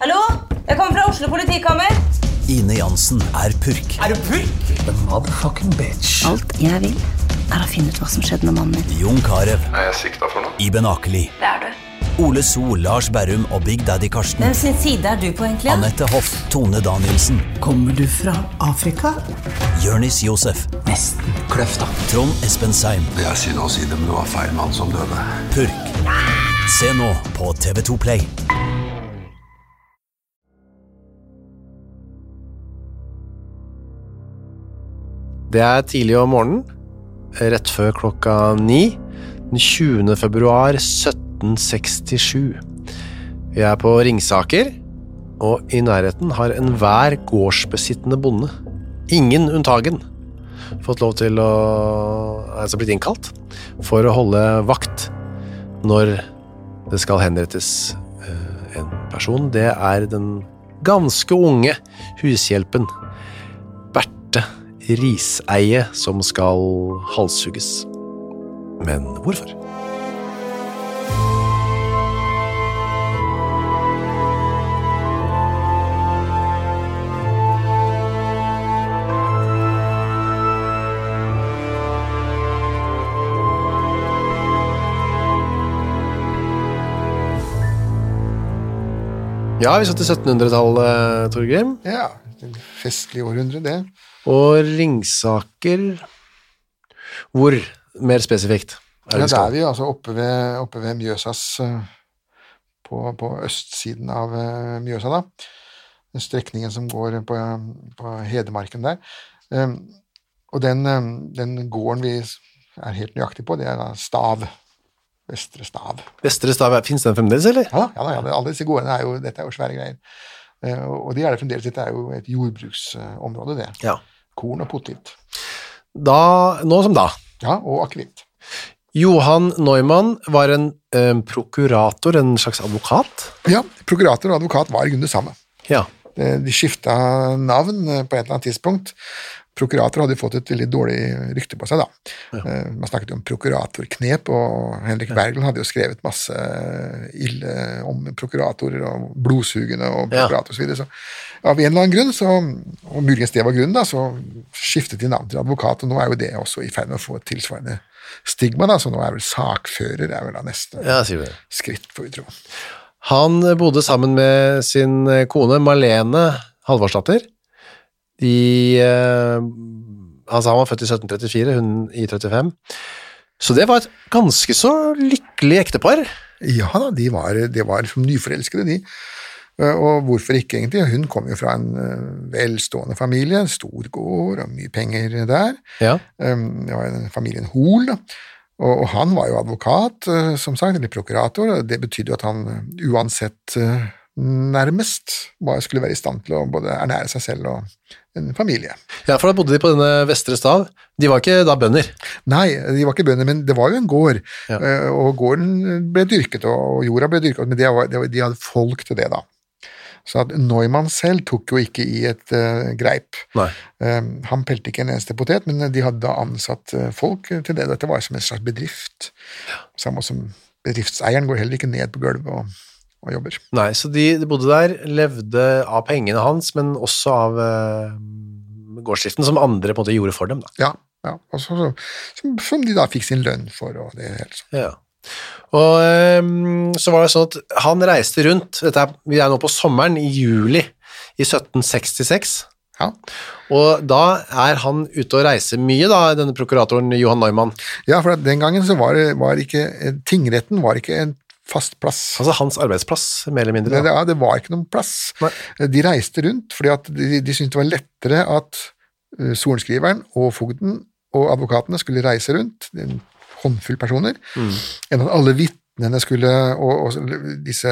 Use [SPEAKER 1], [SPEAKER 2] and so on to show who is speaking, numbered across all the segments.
[SPEAKER 1] Hallo? Jeg kommer fra Oslo politikammer.
[SPEAKER 2] Ine Jansen er purk.
[SPEAKER 3] Er du purk?
[SPEAKER 4] Alt jeg vil, er å finne ut hva som skjedde med mannen min.
[SPEAKER 2] Jon Carew,
[SPEAKER 5] er jeg sikta for noe?
[SPEAKER 2] Iben Akeli. Det er du. Ole So, Lars Berrum og Big Daddy Karsten.
[SPEAKER 1] Hvem sin side er du på, egentlig?
[SPEAKER 2] Anette Hoff, Tone Danielsen,
[SPEAKER 3] Kommer du fra Afrika?
[SPEAKER 2] Jørnis Josef,
[SPEAKER 3] Nesten. Kløfta.
[SPEAKER 2] Trond Espen Seim,
[SPEAKER 5] Det er synd å si det, men det var feil mann som døde.
[SPEAKER 2] Purk. Se nå på TV2 Play.
[SPEAKER 6] Det er tidlig om morgenen, rett før klokka ni, den 20. februar 1767. Vi er på Ringsaker, og i nærheten har enhver gårdsbesittende bonde, ingen unntagen, fått lov til å altså blitt innkalt for å holde vakt når det skal henrettes eh, en person. Det er den ganske unge hushjelpen Berthe riseie som skal halshugges. Men hvorfor? Ja, vi satt i 1700-tallet, Torgrim.
[SPEAKER 7] Ja, et festlig århundre, det.
[SPEAKER 6] Og Ringsaker Hvor, mer spesifikt?
[SPEAKER 7] Ja,
[SPEAKER 6] vi
[SPEAKER 7] da
[SPEAKER 6] skal?
[SPEAKER 7] er vi jo altså oppe ved, oppe ved Mjøsas eh, på, på østsiden av eh, Mjøsa, da. Den strekningen som går på, på Hedmarken der. Em, Og den, em, den gården vi er helt nøyaktig på, det er da Stav. Vestre Stav.
[SPEAKER 6] Vestre Stav, fins den fremdeles, eller?
[SPEAKER 7] Ja da, ja da, ja da. alle disse gårdene er jo, dette er jo svære greier. Eh, Og de er det fremdeles. Dette er jo et jordbruksområde, det.
[SPEAKER 6] Ja.
[SPEAKER 7] Korn og potet.
[SPEAKER 6] Da, nå som da.
[SPEAKER 7] Ja, og akevitt.
[SPEAKER 6] Johan Neumann var en eh, prokurator, en slags advokat?
[SPEAKER 7] Ja, prokurator og advokat var i grunnen det samme.
[SPEAKER 6] Ja.
[SPEAKER 7] Eh, De skifta navn eh, på et eller annet tidspunkt. Prokurator hadde jo fått et veldig dårlig rykte på seg, da. Eh, Man snakket jo om prokuratorknep, og Henrik Wergel hadde jo skrevet masse eh, ille om prokuratorer og blodsugende og
[SPEAKER 6] Ja.
[SPEAKER 7] prokurator osv. Så videre. så av en eller annen grunn, så, og muligens det var grunnen, da, så skiftet de navn til advokat, og nå er jo det også i ferd med å få et tilsvarende stigma, da, så nå er vel sakfører er vel da neste
[SPEAKER 6] ja, sier vi det.
[SPEAKER 7] skritt, får vi tro.
[SPEAKER 6] Han bodde sammen med sin eh, kone Marlene Halvorsdatter. De eh, Altså, han var født i 1734, hun i 35. Så det var et ganske så lykkelig ektepar.
[SPEAKER 7] Ja da, de var, de var som nyforelskede, de. Eh, Og hvorfor ikke, egentlig? Hun kom jo fra en eh, velstående familie, en stor gård og mye penger der.
[SPEAKER 6] Ja.
[SPEAKER 7] Eh, Det var en- familien Hoel, da. Og og han var jo advokat, eh, som sagt, eller prokurator. og Det betydde jo at han eh, uansett eh, nærmest var- skulle være i stand til å både ernære seg selv og en familie.
[SPEAKER 6] Ja, for da bodde de på denne Vestre Stav. De var ikke da bønder.
[SPEAKER 7] Nei, de var ikke bønder, men det var jo en gård.
[SPEAKER 6] Ja.
[SPEAKER 7] Eh, Og gården ble dyrket, og og jorda ble dyrket, men det var, det var, de hadde folk til det, da. Så at Neumann selv tok jo ikke i et eh, greip.
[SPEAKER 6] Nei.
[SPEAKER 7] Eh, han pelte ikke en eneste potet, men de hadde da ansatt eh, folk til det. Dette var som en slags bedrift. Samme som bedriftseieren går heller ikke ned på gulvet og, og jobber.
[SPEAKER 6] Nei, så de, de bodde der, levde av pengene hans, men også av eh, gårdsdriften, som andre på en måte gjorde for dem. Da.
[SPEAKER 7] Ja, ja. Og så, så, som, som de da fikk sin lønn for og det hele. sånn.
[SPEAKER 6] Ja. Og ehm, så var det sånn at han reiste rundt, dette er, vi er nå på sommeren, i juli i 1766,
[SPEAKER 7] Ja.
[SPEAKER 6] og da er han ute og reiser mye da, denne prokuratoren Johan Neumann.
[SPEAKER 7] ja, for at den gangen så var, det- var ikke eh, Tingretten var ikke en fast plass.
[SPEAKER 6] Altså hans arbeidsplass, mer eller mindre.
[SPEAKER 7] Det,
[SPEAKER 6] Da.
[SPEAKER 7] ja, det var ikke noen plass.
[SPEAKER 6] Nei.
[SPEAKER 7] De reiste rundt fordi at de, de syntes det var lettere at eh, sorenskriveren
[SPEAKER 6] Mm.
[SPEAKER 7] og fogden og advokatene skulle reise rundt, en håndfull personer, enn at alle vitner Vitnene skulle, og, og disse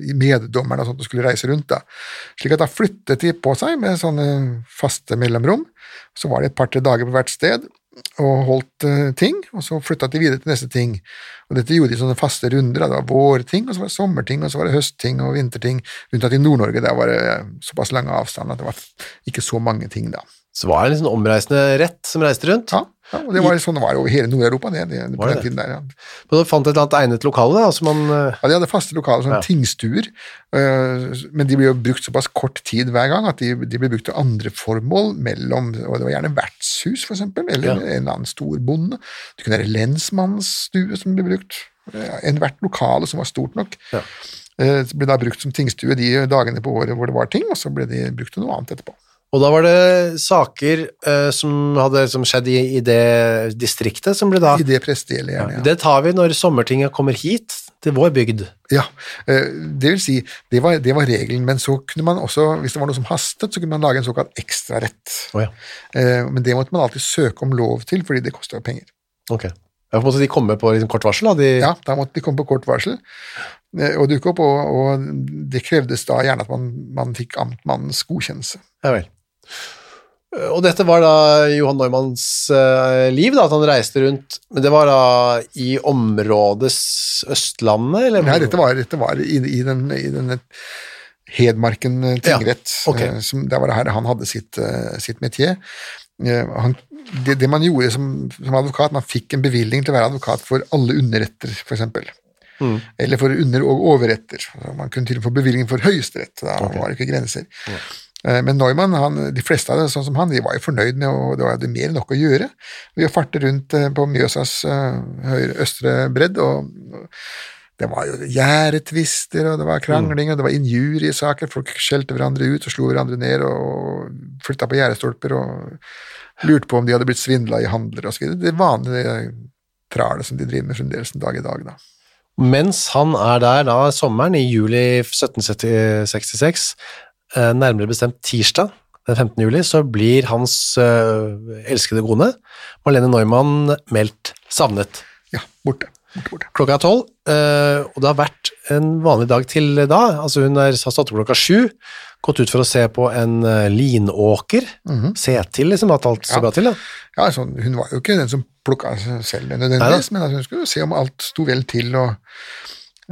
[SPEAKER 7] meddommerne og sånt skulle reise rundt. da. Slik at da flyttet de på seg med sånne faste mellomrom. Så var det et par-tre dager på hvert sted og holdt eh, ting, og så flytta de videre til neste ting. Og Dette gjorde de i sånne faste runder. da. Det var vårting, og så var det sommerting, og så var det høstting og vinterting. Unntatt i Nord-Norge, der var det eh, såpass lange avstander at det var ikke så mange ting da.
[SPEAKER 6] Så var det en liksom omreisende rett som reiste rundt.
[SPEAKER 7] Ja, ja og det var sånn det var over hele Nord-Europa. det, det, på
[SPEAKER 6] Var det
[SPEAKER 7] den tiden der, ja.
[SPEAKER 6] Men du fant et eller annet egnet lokale, da, som man eh,
[SPEAKER 7] Ja, De hadde faste lokaler, sånne
[SPEAKER 6] Ja.
[SPEAKER 7] tingstuer, øh, men de ble jo brukt såpass kort tid hver gang at de, de ble brukt til andre formål mellom og Det var gjerne vertshus, for eksempel,
[SPEAKER 6] Ja.
[SPEAKER 7] eller en eller annen storbonde. Det kunne være lensmannsstue som ble brukt. Ja, Enhvert lokale som var stort nok,
[SPEAKER 6] Ja.
[SPEAKER 7] eh, ble da brukt som tingstue de dagene på året hvor det var ting, og så ble de brukt til noe annet etterpå.
[SPEAKER 6] Og da var det saker eh, som hadde liksom skjedd i, i det distriktet som ble da
[SPEAKER 7] I det prestelige, gjerne. Ja.
[SPEAKER 6] Det tar vi når sommertinget kommer hit, til vår bygd.
[SPEAKER 7] Ja, eh, det vil si, det var, det var regelen, men så kunne man også, hvis det var noe som hastet, så kunne man lage en såkalt ekstrarett.
[SPEAKER 6] Å ja.
[SPEAKER 7] Eh, Men det måtte man alltid søke om lov til, fordi det kosta penger.
[SPEAKER 6] Ok. Ja, for måtte de komme på liksom, kort varsel, da? De,
[SPEAKER 7] Ja, Da måtte de komme på kort varsel eh, og dukke opp, og, og det krevdes da gjerne at man, man fikk amtmannens godkjennelse.
[SPEAKER 6] Ja vel. Eh, Og dette var da Johan Neumanns eh, liv, da, at han reiste rundt Men det var da i området s- Østlandet, eller?
[SPEAKER 7] Nei, dette var, dette var i, i den, i den Hedmarken eh, tingrett,
[SPEAKER 6] Ja, ok.
[SPEAKER 7] eh, som, der var det her han hadde sitt, eh, sitt metier. Eh, Han, det, det man gjorde som, som advokat, man fikk en bevilgning til å være advokat for alle underretter, f.eks. eksempel.
[SPEAKER 6] Mm.
[SPEAKER 7] Eller for under- og overretter. Altså, Man kunne til og med få bevilgning for høyesterett. Da var det ikke grenser. Eh, Men Neumann, han, de fleste av det, sånn som han, de var jo fornøyd med, og det var jo mer enn nok å gjøre. Vi farte rundt eh, på Mjøsas eh, høyre østre bredd, og det var jo gjerdetvister, og det var krangling, og det var injuriesaker. Folk skjelte hverandre ut og slo hverandre ned og flytta på gjerdestolper og lurte på om de hadde blitt svindla i handler og så videre. Det vanlige tralet som de driver med fremdeles en dag i dag, da.
[SPEAKER 6] Mens han er der da sommeren i juli 1766, eh, nærmere bestemt tirsdag den 15. juli, så blir hans eh, elskede kone, Marlene Neumann, meldt savnet.
[SPEAKER 7] Ja, borte. borte, borte.
[SPEAKER 6] Klokka er tolv, eh, og det har vært en vanlig dag til da. Altså hun er, har stått opp klokka sju, gått ut for å se på en eh, linåker, se til liksom at alt står
[SPEAKER 7] Mhm. Ja.
[SPEAKER 6] bra til. Da.
[SPEAKER 7] Ja, sånn, hun var jo ikke den som plukka seg selv nødvendigvis, men altså, hun skulle jo se om alt sto vel til. og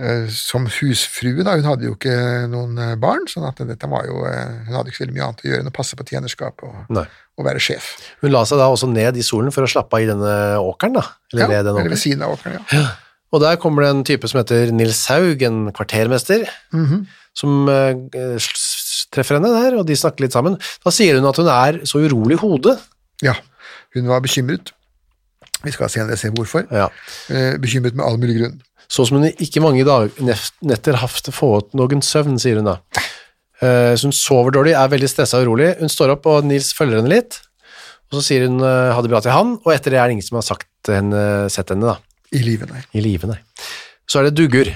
[SPEAKER 7] eh, som husfrue, da, hun hadde jo ikke noen eh, barn, sånn at dette var jo eh, Hun hadde ikke så veldig mye annet å gjøre enn å passe på tjenerskapet og,
[SPEAKER 6] Nei.
[SPEAKER 7] og være sjef.
[SPEAKER 6] Hun la seg da også ned i solen for å slappe av i denne åkeren, da. Eller ved den
[SPEAKER 7] eller
[SPEAKER 6] åkeren.
[SPEAKER 7] ved siden av åkeren, ja.
[SPEAKER 6] Og der kommer det en type som heter Nils Haug, en kvartermester, som eh, s- treffer henne der, og de snakker litt sammen. Da sier hun at hun er så urolig i hodet.
[SPEAKER 7] ja. Hun var bekymret. Vi skal senere se hvorfor.
[SPEAKER 6] Ja.
[SPEAKER 7] Eh, Bekymret med all mulig grunn.
[SPEAKER 6] Så som hun ikke mange dag, nef- netter haft fått noen søvn, sier hun da. Eh, Så hun sover dårlig, er veldig stressa og urolig. Hun står opp, og Nils følger henne litt. Og så sier hun eh, ha det bra til han, og etter det er det ingen som har sagt henne, sett henne da,
[SPEAKER 7] I livet, nei.
[SPEAKER 6] i live, nei. Så er det dugger.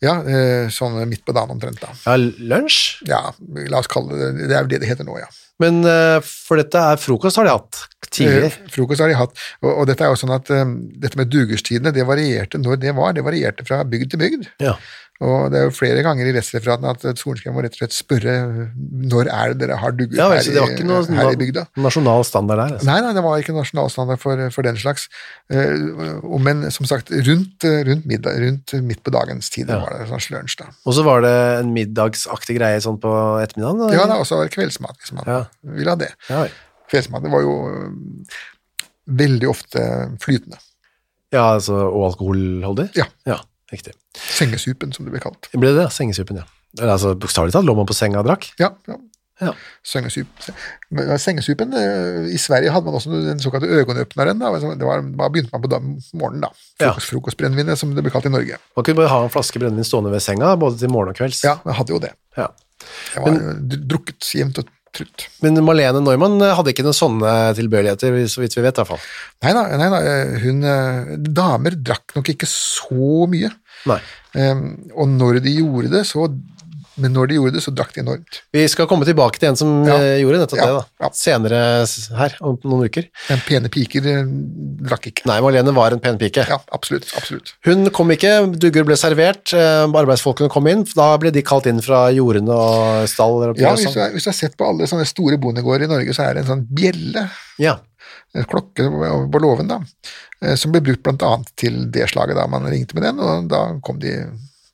[SPEAKER 7] Ja, eh, sånn midt på dagen omtrent, da.
[SPEAKER 6] Ja, lunsj.
[SPEAKER 7] Ja, la oss kalle det det er jo det det heter nå, ja.
[SPEAKER 6] Men eh, for dette er frokost har de hatt tidligere.
[SPEAKER 7] Eh, Frokost har de hatt, og, og dette er jo sånn at eh, dette med dugerstidene, det varierte når det var, det varierte fra bygd til bygd.
[SPEAKER 6] Ja.
[SPEAKER 7] Og det er jo flere ganger i rettsreferatene at Sorenskrem må rett og slett spørre eh, når er det dere har dugger
[SPEAKER 6] Ja, vel,
[SPEAKER 7] her,
[SPEAKER 6] så det var ikke
[SPEAKER 7] i,
[SPEAKER 6] noe sånn-
[SPEAKER 7] her i bygda.
[SPEAKER 6] na- nasjonal standard der. Altså.
[SPEAKER 7] Nei, nei, det var ikke nasjonalstandard for, for den slags. Eh, og- men som sagt, rundt, eh, rundt, middag, rundt midt på dagens tid var det sånn lunsj, da.
[SPEAKER 6] Og så var det en middagsaktig greie sånn på ettermiddagen? da,
[SPEAKER 7] Ja,
[SPEAKER 6] eller?
[SPEAKER 7] det var også var det kveldsmat, hvis man
[SPEAKER 6] Ja.
[SPEAKER 7] ville ha det.
[SPEAKER 6] Ja, vel.
[SPEAKER 7] Kveldsmaten var jo eh, veldig ofte flytende.
[SPEAKER 6] ja, altså, og alkoholholdig?
[SPEAKER 7] Ja.
[SPEAKER 6] Riktig.
[SPEAKER 7] Sengesupen, som det ble kalt.
[SPEAKER 6] Ble det sengesupen, ja. Eller altså, Bokstavelig talt lå man på senga og drakk?
[SPEAKER 7] Ja, ja.
[SPEAKER 6] Ja.
[SPEAKER 7] Sengesup- men, ja, Sengesupen eh, I Sverige hadde man også den såkalte øyenåpneren. da. Altså, Det var, da begynte man på da, morgenen, da.
[SPEAKER 6] Ja.
[SPEAKER 7] Frokost, Frokostbrennevinet, som det ble kalt i Norge.
[SPEAKER 6] Man kunne bare ha en flaske brennevin stående ved senga, både til morgen og kvelds.
[SPEAKER 7] Ja, jeg hadde jo det.
[SPEAKER 6] Ja.
[SPEAKER 7] Jeg var eh, drukket jevnt og trutt.
[SPEAKER 6] Men Marlene Neumann eh, hadde ikke noen sånne tilbøyeligheter, så vidt vi vet i hvert fall.
[SPEAKER 7] Nei da, nei da, eh, hun eh, Damer drakk nok ikke så mye.
[SPEAKER 6] Nei.
[SPEAKER 7] Ehm, Og når de gjorde det, så Men når de gjorde det, så drakk de enormt.
[SPEAKER 6] Vi skal komme tilbake til en som
[SPEAKER 7] Ja.
[SPEAKER 6] eh, gjorde nettopp
[SPEAKER 7] Ja,
[SPEAKER 6] det, da.
[SPEAKER 7] ja.
[SPEAKER 6] Senere s- her, om noen uker.
[SPEAKER 7] Men pene piker eh, drakk ikke.
[SPEAKER 6] Nei, Marlene var en pen pike.
[SPEAKER 7] Ja, absolutt. absolutt.
[SPEAKER 6] Hun kom ikke, dugger ble servert, eh, arbeidsfolkene kom inn, for da ble de kalt inn fra jordene og staller og
[SPEAKER 7] Ja,
[SPEAKER 6] og
[SPEAKER 7] hvis du,
[SPEAKER 6] sånn.
[SPEAKER 7] har, hvis du har sett på alle sånne store bondegårder i Norge, så er det en sånn bjelle,
[SPEAKER 6] Ja.
[SPEAKER 7] en klokke over på låven, da, eh, som ble brukt blant annet til det slaget da man ringte med den, og da kom de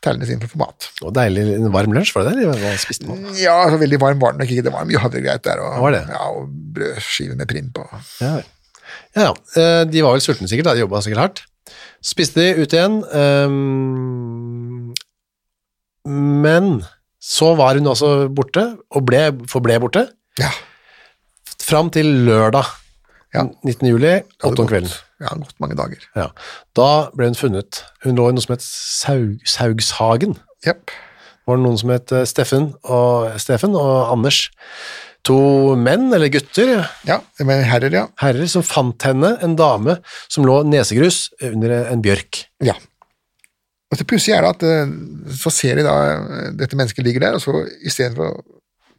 [SPEAKER 7] tellende inn for å få mat.
[SPEAKER 6] Og deilig en varm lunsj, var det det? eller Hva spiste man?
[SPEAKER 7] Ja, så veldig varm var den nok ikke, det var mye havregreit der, og,
[SPEAKER 6] Var det?
[SPEAKER 7] ja, og brødskiver med primp og
[SPEAKER 6] Ja, ja. ja. Eh, De var vel sultne sikkert, da. de jobba sikkert hardt. Spiste de ut igjen. ehm, Men så var hun også borte, og ble, forble borte,
[SPEAKER 7] Ja,
[SPEAKER 6] fram til lørdag
[SPEAKER 7] Ja.
[SPEAKER 6] 19. juli,
[SPEAKER 7] det hadde
[SPEAKER 6] åtte om
[SPEAKER 7] gått-
[SPEAKER 6] kvelden.
[SPEAKER 7] Ja, gått mange dager.
[SPEAKER 6] Ja. Da ble hun funnet. Hun lå i noe som het Saug, Saugshagen.
[SPEAKER 7] Jepp.
[SPEAKER 6] var det noen som het eh, Steffen og, Steffen og Anders. To menn, eller gutter,
[SPEAKER 7] Ja, men herrer, ja.
[SPEAKER 6] herrer, som fant henne, en dame som lå nesegrus under en bjørk.
[SPEAKER 7] Ja. Og det pussige er da at eh, så ser de da eh, dette mennesket ligger der, og så istedenfor å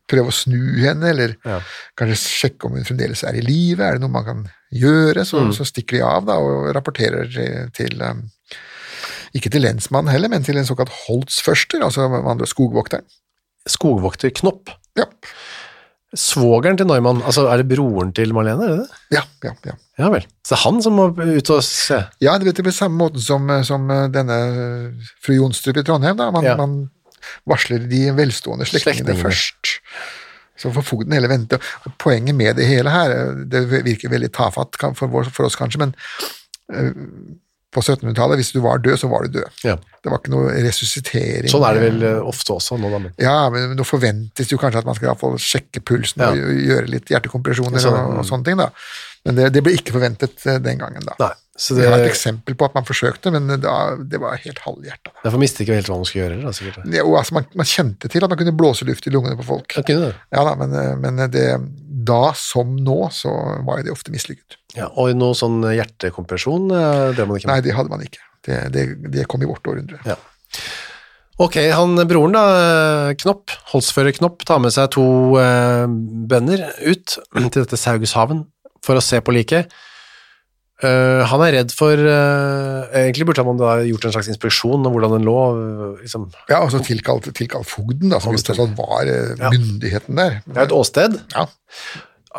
[SPEAKER 7] prøve å snu henne, eller
[SPEAKER 6] Ja.
[SPEAKER 7] kanskje sjekke om hun fremdeles er i live, er det noe man kan gjøre, så,
[SPEAKER 6] Mm.
[SPEAKER 7] så stikker de av da og rapporterer til, til eh, ikke til lensmannen heller, men til en såkalt holdsførster, altså med andre ord skogvokteren.
[SPEAKER 6] Skogvokter Knopp.
[SPEAKER 7] Ja.
[SPEAKER 6] Svogeren til Neumann, altså er det broren til Marlene, er det det?
[SPEAKER 7] Ja, ja, ja.
[SPEAKER 6] Ja vel. Så det er han som må ut og se.
[SPEAKER 7] ja, du vet det på samme måten som, eh, som eh, denne eh, fru Jonstrup i Trondheim, da. Man,
[SPEAKER 6] Ja.
[SPEAKER 7] man varsler de velstående slektningene
[SPEAKER 6] Slektningene.
[SPEAKER 7] først. Så får fogden heller vente. Og poenget med det hele her, eh, det virker veldig tafatt kan- for, vår, for oss kanskje, men eh, på 1700-tallet, hvis du var død, så var du død.
[SPEAKER 6] Ja.
[SPEAKER 7] Det var ikke noe resuscitering.
[SPEAKER 6] Sånn er det vel eh, ofte også nå, da. men-
[SPEAKER 7] Ja, men nå forventes jo kanskje at man skal i hvert fall sjekke pulsen
[SPEAKER 6] Ja.
[SPEAKER 7] og gjø- gjøre litt hjertekompresjoner
[SPEAKER 6] Sånn,
[SPEAKER 7] og, og sånne ting, da. Men det, det ble ikke forventet eh, den gangen, da.
[SPEAKER 6] Nei, så
[SPEAKER 7] Vi
[SPEAKER 6] det,
[SPEAKER 7] har et eksempel på at man forsøkte, men da, det var helt halvhjerta.
[SPEAKER 6] derfor mistet ikke helt hva man skulle gjøre. Da, sikkert.
[SPEAKER 7] Jo, altså, man, man kjente til at man kunne blåse luft i lungene på folk.
[SPEAKER 6] Ja, kunne det.
[SPEAKER 7] Ja da, men, eh, men det, da som nå, så var jo det ofte mislykket.
[SPEAKER 6] Ja, og noe sånn hjertekompresjon eh, drev man ikke med.
[SPEAKER 7] Nei, det hadde man ikke. Det, det, det kom i vårt århundre.
[SPEAKER 6] Ja. Ok, han broren da, eh, Knopp, holdsfører Knopp, tar med seg to eh, bønder ut til dette Saugushaven for å se på liket. Eh, han er redd for eh, Egentlig burde man da gjort en slags inspeksjon om hvordan den lå. eh, Liksom. Det
[SPEAKER 7] Ja, og så tilkalt, tilkalt fogden, da, som jo tross alt var eh,
[SPEAKER 6] Ja.
[SPEAKER 7] myndigheten der.
[SPEAKER 6] er jo et åsted,
[SPEAKER 7] Ja,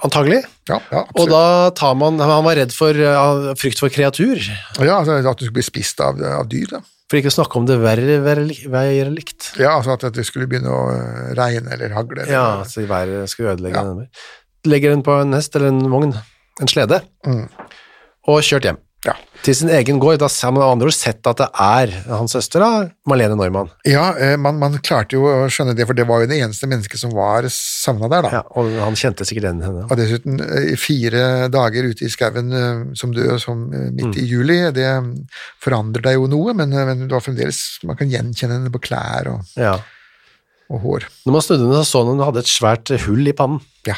[SPEAKER 6] antagelig.
[SPEAKER 7] ja, ja
[SPEAKER 6] Og
[SPEAKER 7] absolutt.
[SPEAKER 6] da tar man Han var redd for eh, frykt for kreatur,
[SPEAKER 7] Ja, altså, at du skulle bli spist av, av dyr, da.
[SPEAKER 6] for ikke å snakke om det verre være li- være likt.
[SPEAKER 7] Ja, altså at, at det skulle begynne å eh, regne eller hagle. eller-
[SPEAKER 6] Ja, så været skulle ødelegge
[SPEAKER 7] Ja.
[SPEAKER 6] den. Legger den på en hest eller en vogn, en slede,
[SPEAKER 7] Mm.
[SPEAKER 6] og kjørt hjem.
[SPEAKER 7] Ja.
[SPEAKER 6] Til sin egen gård, da har man med andre ord sett at det er hans søster, da, Marlene Neumann.
[SPEAKER 7] Ja, eh, man, man klarte jo å skjønne det, for det var jo det eneste mennesket som var savna der, da.
[SPEAKER 6] Ja, og han kjente sikkert den henne.
[SPEAKER 7] Og dessuten, eh, fire dager ute i skauen eh, som død som eh,
[SPEAKER 6] Mm.
[SPEAKER 7] midt i juli, det forandrer deg jo noe, men, eh, men du har fremdeles, man kan gjenkjenne henne på klær og,
[SPEAKER 6] Ja.
[SPEAKER 7] og hår.
[SPEAKER 6] Når man snudde henne, så så hun hun hadde et svært hull i pannen.
[SPEAKER 7] Ja.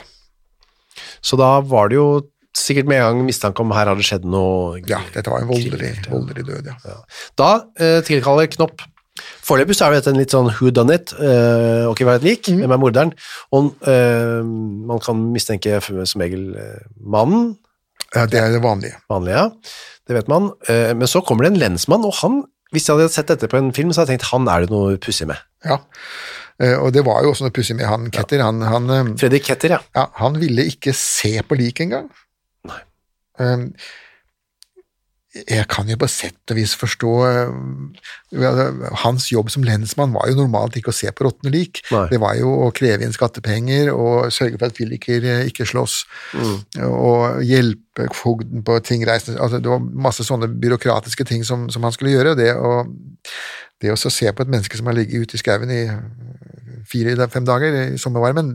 [SPEAKER 6] Så da var det jo sikkert med en gang mistanke om her har det skjedd noe.
[SPEAKER 7] ja, dette var en voldelig,
[SPEAKER 6] Kriminelt, ja.
[SPEAKER 7] voldelig død, ja.
[SPEAKER 6] Da eh, tilkaller Knopp Foreløpig så er dette en litt sånn who done it, eh, og ikke være et lik,
[SPEAKER 7] Mhm.
[SPEAKER 6] hvem er morderen? Og eh, man kan mistenke f- som regel eh, mannen,
[SPEAKER 7] ja. Det er det vanlige.
[SPEAKER 6] vanlige, ja. det vet man. Eh, men så kommer det en lensmann, og han, hvis jeg hadde sett dette på en film, så hadde jeg tenkt han er det noe pussig med.
[SPEAKER 7] Ja. Eh, Og det var jo også noe pussig med han Ketter. Han, han, eh,
[SPEAKER 6] Fredrik Ketter, ja.
[SPEAKER 7] Ja, han ville ikke se på liket engang. Nei. jeg kan jo på sett og vis forstå um, altså, Hans jobb som lensmann var jo normalt ikke å se på råtne lik.
[SPEAKER 6] Nei.
[SPEAKER 7] Det var jo å kreve inn skattepenger og sørge for at fylliker eh, ikke slåss. Og hjelpe fogden på tingreisene. Altså, det var masse sånne byråkratiske ting som, som han skulle gjøre. og Det å, det å så se på et menneske som har ligget ute i skauen i fire-fem dager i sommervarmen,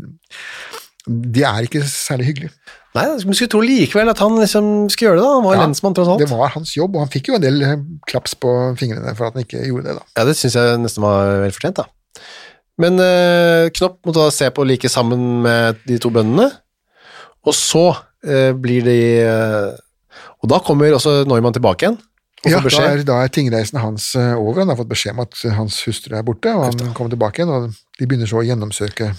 [SPEAKER 7] det er ikke særlig hyggelig.
[SPEAKER 6] Nei, vi skulle tro likevel at han liksom skulle gjøre det, da. Han var
[SPEAKER 7] Ja,
[SPEAKER 6] lensmann, tross alt.
[SPEAKER 7] Det var hans jobb, og han fikk jo en del eh, klaps på fingrene for at han ikke gjorde det, da.
[SPEAKER 6] Ja, det syns jeg nesten var vel fortjent, da. Men eh, Knopp måtte da se på like sammen med de to bøndene, og så eh, blir de eh, Og da kommer også Neumann tilbake igjen, Og får
[SPEAKER 7] Ja, da
[SPEAKER 6] beskjed.
[SPEAKER 7] er, da er tingreisen hans eh, over. Han har fått beskjed om at eh, hans hustru er borte, og han kommer tilbake igjen. Og de begynner så å gjennomsøke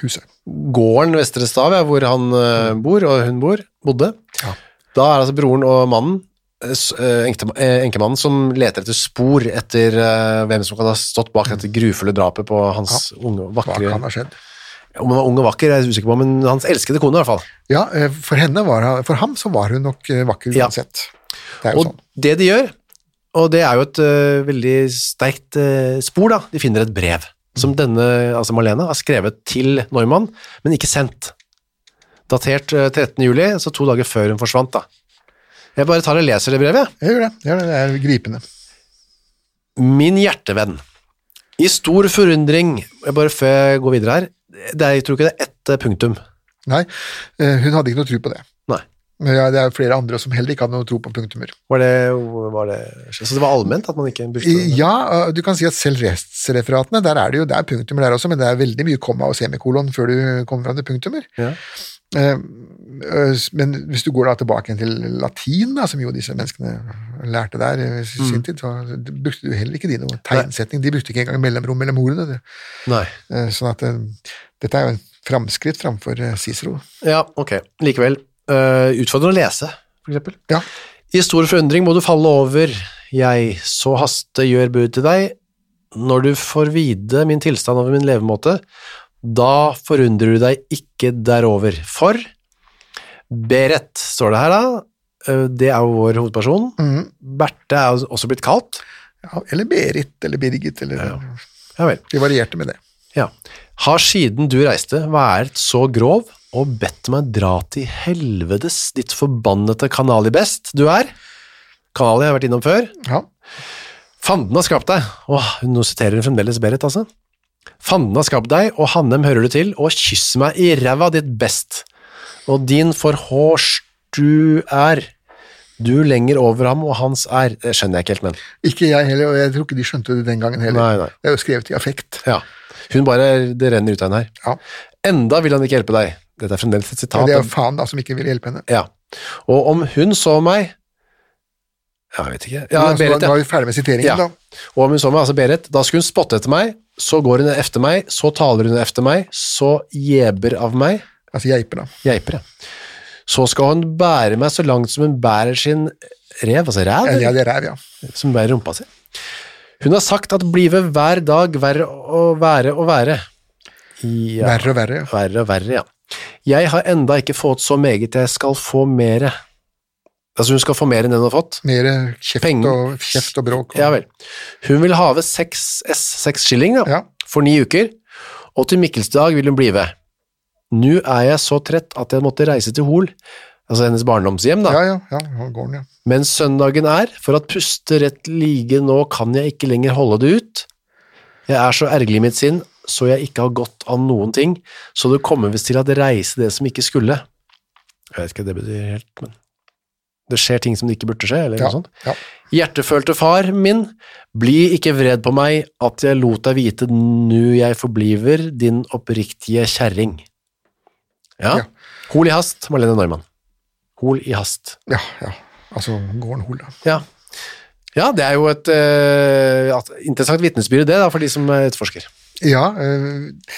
[SPEAKER 7] huset.
[SPEAKER 6] Gården Vestre Stav, ja, hvor han eh, bor, og hun bor, bodde.
[SPEAKER 7] Ja.
[SPEAKER 6] Da er altså broren og mannen, eh, s- eh, enkte- eh, enkemannen, som leter etter spor etter eh, hvem som kan ha stått bak dette grufulle drapet på hans unge og
[SPEAKER 7] Hva
[SPEAKER 6] vakre
[SPEAKER 7] kan ha skjedd?
[SPEAKER 6] Om hun var ung og vakker, er jeg usikker på, men hans elskede kone, i hvert fall.
[SPEAKER 7] Ja, eh, for, henne var, han- for ham så var hun nok eh, vakker
[SPEAKER 6] Ja.
[SPEAKER 7] uansett. Det er jo
[SPEAKER 6] Og
[SPEAKER 7] sånn.
[SPEAKER 6] det de gjør, og det er jo et ø, veldig sterkt ø, spor, da. De finner et brev som denne, altså Malene, har skrevet til Neumann, men ikke sendt. Datert ø, 13. juli, altså to dager før hun forsvant, da. Jeg bare tar og leser det brevet.
[SPEAKER 7] Jeg gjør det. Jeg gjør det. det er gripende.
[SPEAKER 6] Min hjertevenn. I stor forundring jeg Bare før jeg går videre her, det er, jeg tror ikke det er ett ø, punktum.
[SPEAKER 7] Nei, eh, hun hadde ikke noe tro på det.
[SPEAKER 6] Nei.
[SPEAKER 7] Men Ja, det er flere andre som heller ikke hadde noe tro på punktummer.
[SPEAKER 6] Var det, var det Så det var allment at man ikke brukte
[SPEAKER 7] I- Ja, eh, du kan si at selv restreferatene, der er det jo, det er punktummer der også, men det er veldig mye komma og semikolon før du kommer fram til punktummer.
[SPEAKER 6] Ja.
[SPEAKER 7] Eh, eh, Men hvis du går da tilbake igjen til latin, da, som jo disse menneskene lærte der eh, i sin
[SPEAKER 6] Mm.
[SPEAKER 7] tid, så brukte du heller ikke de noe tegnsetning. De brukte ikke engang mellomrom mellom ordene. det.
[SPEAKER 6] Nei.
[SPEAKER 7] Eh, Sånn at eh, dette er jo en framskritt framfor eh, Cicero.
[SPEAKER 6] Ja, ok. Likevel. ø, Utfordrende å lese, for eksempel.
[SPEAKER 7] Ja,
[SPEAKER 6] I stor forundring må du falle over, jeg så haste gjør bud til deg, når du får vite min tilstand over min levemåte, da forundrer du deg ikke derover. For Beret, står det her da, Eh, det er jo vår hovedperson.
[SPEAKER 7] Mm.
[SPEAKER 6] Berthe er jo også blitt kalt.
[SPEAKER 7] ja, eller Berit eller Birgit, eller
[SPEAKER 6] Ja vel.
[SPEAKER 7] De varierte med det.
[SPEAKER 6] Ja. Har siden du reiste vært så grov og bedt meg dra til helvedes ditt forbannede kanalibest du er? Kanali har jeg vært innom før.
[SPEAKER 7] Ja.
[SPEAKER 6] Fanden har skapt deg, Åh, nå siterer hun fremdeles Berit, altså. Fanden har skapt deg, og Hannem hører du til, og kyss meg i ræva ditt best. Og din forhårs du er, du lenger over ham og hans er. Det skjønner jeg ikke helt, men.
[SPEAKER 7] Ikke jeg heller, og jeg tror ikke de skjønte det den gangen heller.
[SPEAKER 6] Nei, nei.
[SPEAKER 7] Det er jo skrevet i affekt.
[SPEAKER 6] Ja. Hun bare, det renner ut av henne her.
[SPEAKER 7] Ja.
[SPEAKER 6] Enda vil han ikke hjelpe deg. Dette er fremdeles et
[SPEAKER 7] Men
[SPEAKER 6] sitat.
[SPEAKER 7] det er jo faen da som ikke ville hjelpe henne.
[SPEAKER 6] Ja. Og om hun så meg, ja, jeg vet ikke. Ja,
[SPEAKER 7] altså,
[SPEAKER 6] Berit,
[SPEAKER 7] da
[SPEAKER 6] ja.
[SPEAKER 7] var vi ferdig med siteringen,
[SPEAKER 6] Ja.
[SPEAKER 7] da.
[SPEAKER 6] Og om hun så meg, altså Berit, da skulle hun spotte etter meg, så går hun efter meg, så taler hun efter meg, så gjeber av meg,
[SPEAKER 7] Altså geiper, da.
[SPEAKER 6] geiper jeg. Så skal hun bære meg så langt som hun bærer sin rev, altså ræv,
[SPEAKER 7] Ja, det er ræv, ja.
[SPEAKER 6] som bærer rumpa si. Hun har sagt at blive hver dag verre og være og være. Ja,
[SPEAKER 7] Verre og verre. ja.
[SPEAKER 6] verre og verre, ja. Jeg har enda ikke fått så meget jeg skal få mere. Altså hun skal få mer enn den hun har fått.
[SPEAKER 7] Mer kjeft
[SPEAKER 6] Penger.
[SPEAKER 7] og, kjeft og bråk. Og,
[SPEAKER 6] Ja vel. Hun vil have 6 S, 6 skilling da,
[SPEAKER 7] Ja.
[SPEAKER 6] for ni uker, og til Mikkelsdag vil hun blive. Nå er jeg så trett at jeg måtte reise til Hol, altså hennes barndomshjem da,
[SPEAKER 7] Ja, ja, ja, ja, gården, ja.
[SPEAKER 6] men søndagen er, for at puste rett lige nå kan jeg ikke lenger holde det ut. Jeg er så ergerlig i mitt sinn, så jeg ikke har godt av noen ting, så det kommer visst til at reise det som ikke skulle. Jeg vet ikke hva det betyr helt, men det skjer ting som det ikke burde skje, eller
[SPEAKER 7] Ja,
[SPEAKER 6] noe sånt.
[SPEAKER 7] ja.
[SPEAKER 6] Hjertefølte far min, bli ikke vred på meg at jeg lot deg vite nu jeg forbliver din oppriktige kjerring. Ja.
[SPEAKER 7] Ja.
[SPEAKER 6] Hol i hast, Marlene Neumann. Hol i hast.
[SPEAKER 7] ja, ja. Altså gården Hol, da.
[SPEAKER 6] Ja. Ja, det er jo et eh, at- interessant vitnesbyrd, det, da, for de som eh, etterforsker.
[SPEAKER 7] Ja, eh,